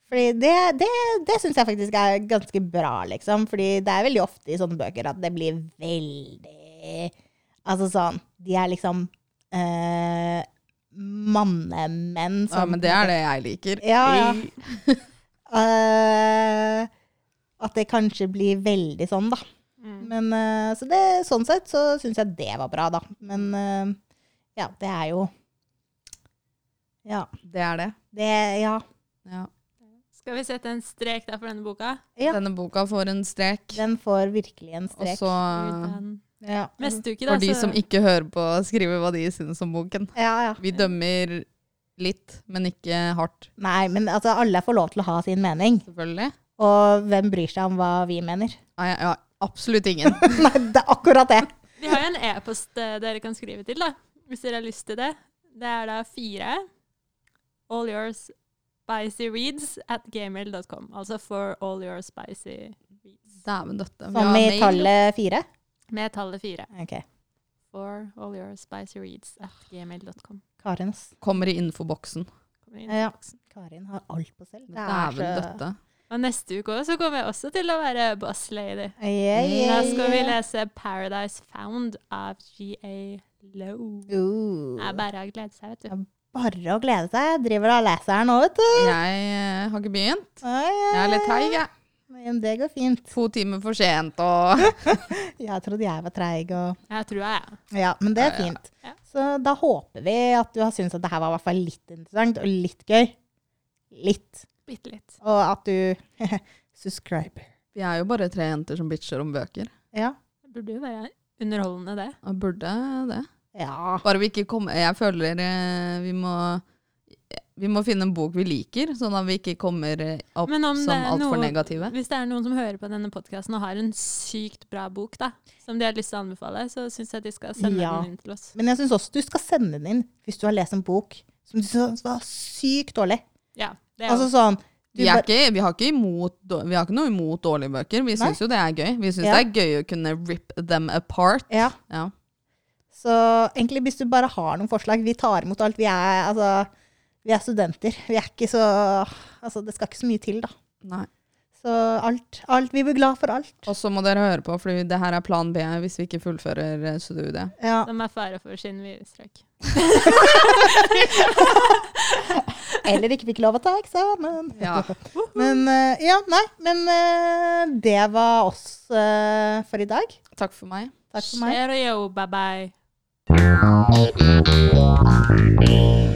S1: Fordi det, det, det syns jeg faktisk er ganske bra, liksom. Fordi det er veldig ofte i sånne bøker at det blir veldig Altså sånn De er liksom eh, mannemenn som
S3: Ja, men det er det jeg liker.
S1: Ja, ja. Eh, at det kanskje blir veldig sånn, da.
S2: Mm.
S1: Men eh, så det, sånn sett så syns jeg det var bra, da. Men eh, ja, det er jo Ja.
S3: Det er det.
S1: Det Ja.
S3: Ja.
S2: Skal vi sette en strek der for denne boka?
S1: Ja.
S3: Denne boka får en strek.
S1: Den får virkelig en
S3: Og
S1: strek.
S3: så
S2: Uten-
S1: Ja.
S2: Neste uke, da.
S3: får de
S2: så-
S3: som ikke hører på, skrive hva de syns om boken.
S1: ja, ja.
S3: Vi dømmer litt, men ikke hardt,
S1: Nei, men altså, alle får lov til å ha sin mening.
S3: selvfølgelig.
S1: Og hvem bryr seg om hva vi mener?
S3: Nei, ja, absolutt ingen.
S1: Nei, det er akkurat det.
S2: Vi har jo en e-post eh, dere kan skrive til, da, hvis dere har lyst til det. Det er da fire all your spicy reads at gmail.com. Altså for all your spicy reads.
S3: Dæven døtte. Vi har
S1: Som i
S3: mail.
S1: tallet fire.
S2: Med tallet fire.
S1: Ok.
S2: For all your spicy reads at gmail.com.
S1: Karin, ass.
S3: Kommer i infoboksen.
S2: Kommer inn i
S1: Ja.
S2: boksen.
S1: Karin har alt på selv.
S3: Dæven døtte.
S2: Og neste uke også så kommer jeg også til å være boss lady.
S1: Yeah,
S2: Mm, Da
S1: yeah,
S2: skal vi
S1: yeah.
S2: lese 'Paradise Found' av G.A. Low. Det er
S1: Uh,
S2: bare å glede seg, vet du.
S1: bare å glede seg. Jeg driver av leseren nå, vet du.
S3: Jeg eh, har ikke begynt.
S1: Ai, ai,
S3: Jeg er litt
S1: ai.
S3: treig, jeg.
S1: Men det går fint.
S3: To timer for sent og
S1: Jeg trodde jeg var treig og
S2: Jeg tror jeg, ja.
S1: Ja, men det er fint.
S2: Ja.
S1: Så da håper vi at du har syntes at det her var i hvert fall litt interessant og litt gøy. Litt.
S2: Bitte litt.
S1: Og at du subscriber.
S3: Vi er jo bare tre jenter som bitcher om bøker.
S1: Ja.
S2: Det burde jo være underholdende, det.
S3: Jeg burde det.
S1: Ja.
S3: Bare vi ikke kommer Jeg føler eh, vi må vi må finne en bok vi liker, sånn at vi ikke kommer eh, opp
S2: Men om det
S3: som
S2: er
S3: altfor
S2: noe-
S3: negative.
S2: Hvis det er noen som hører på denne podkasten og har en sykt bra bok da, som de har lyst til å anbefale, så syns jeg de skal sende
S1: Ja.
S2: den inn til oss.
S1: Men jeg syns også du skal sende den inn hvis du har lest en bok som du syns var sykt dårlig.
S2: Ja, det er jo
S1: Altså sånn du
S3: Vi, er
S1: bare-
S3: ikke, vi, har ikke imot, dår- vi har ikke noe imot dårlige bøker. Vi syns jo det er gøy. Vi syns
S1: Ja.
S3: det er gøy å kunne rip them apart.
S1: Ja.
S3: Ja.
S1: Så egentlig, hvis du bare har noen forslag Vi tar imot alt. Vi er, altså, vi er studenter. Vi er ikke så Altså, det skal ikke så mye til, da.
S3: Nei.
S1: Så alt. alt vi blir glad for alt.
S3: Og så må dere høre på, for det her er plan B hvis vi ikke fullfører eh, studiet.
S1: Ja.
S2: som er fare for skinnvirrestrøk.
S1: Eller ikke fikk lov å ta eksamen.
S3: Ja.
S1: Men eh, ja, nei. Men eh, det var oss eh, for i dag.
S3: Takk for meg.
S1: Takk for meg.
S2: Share og yo, bye bye.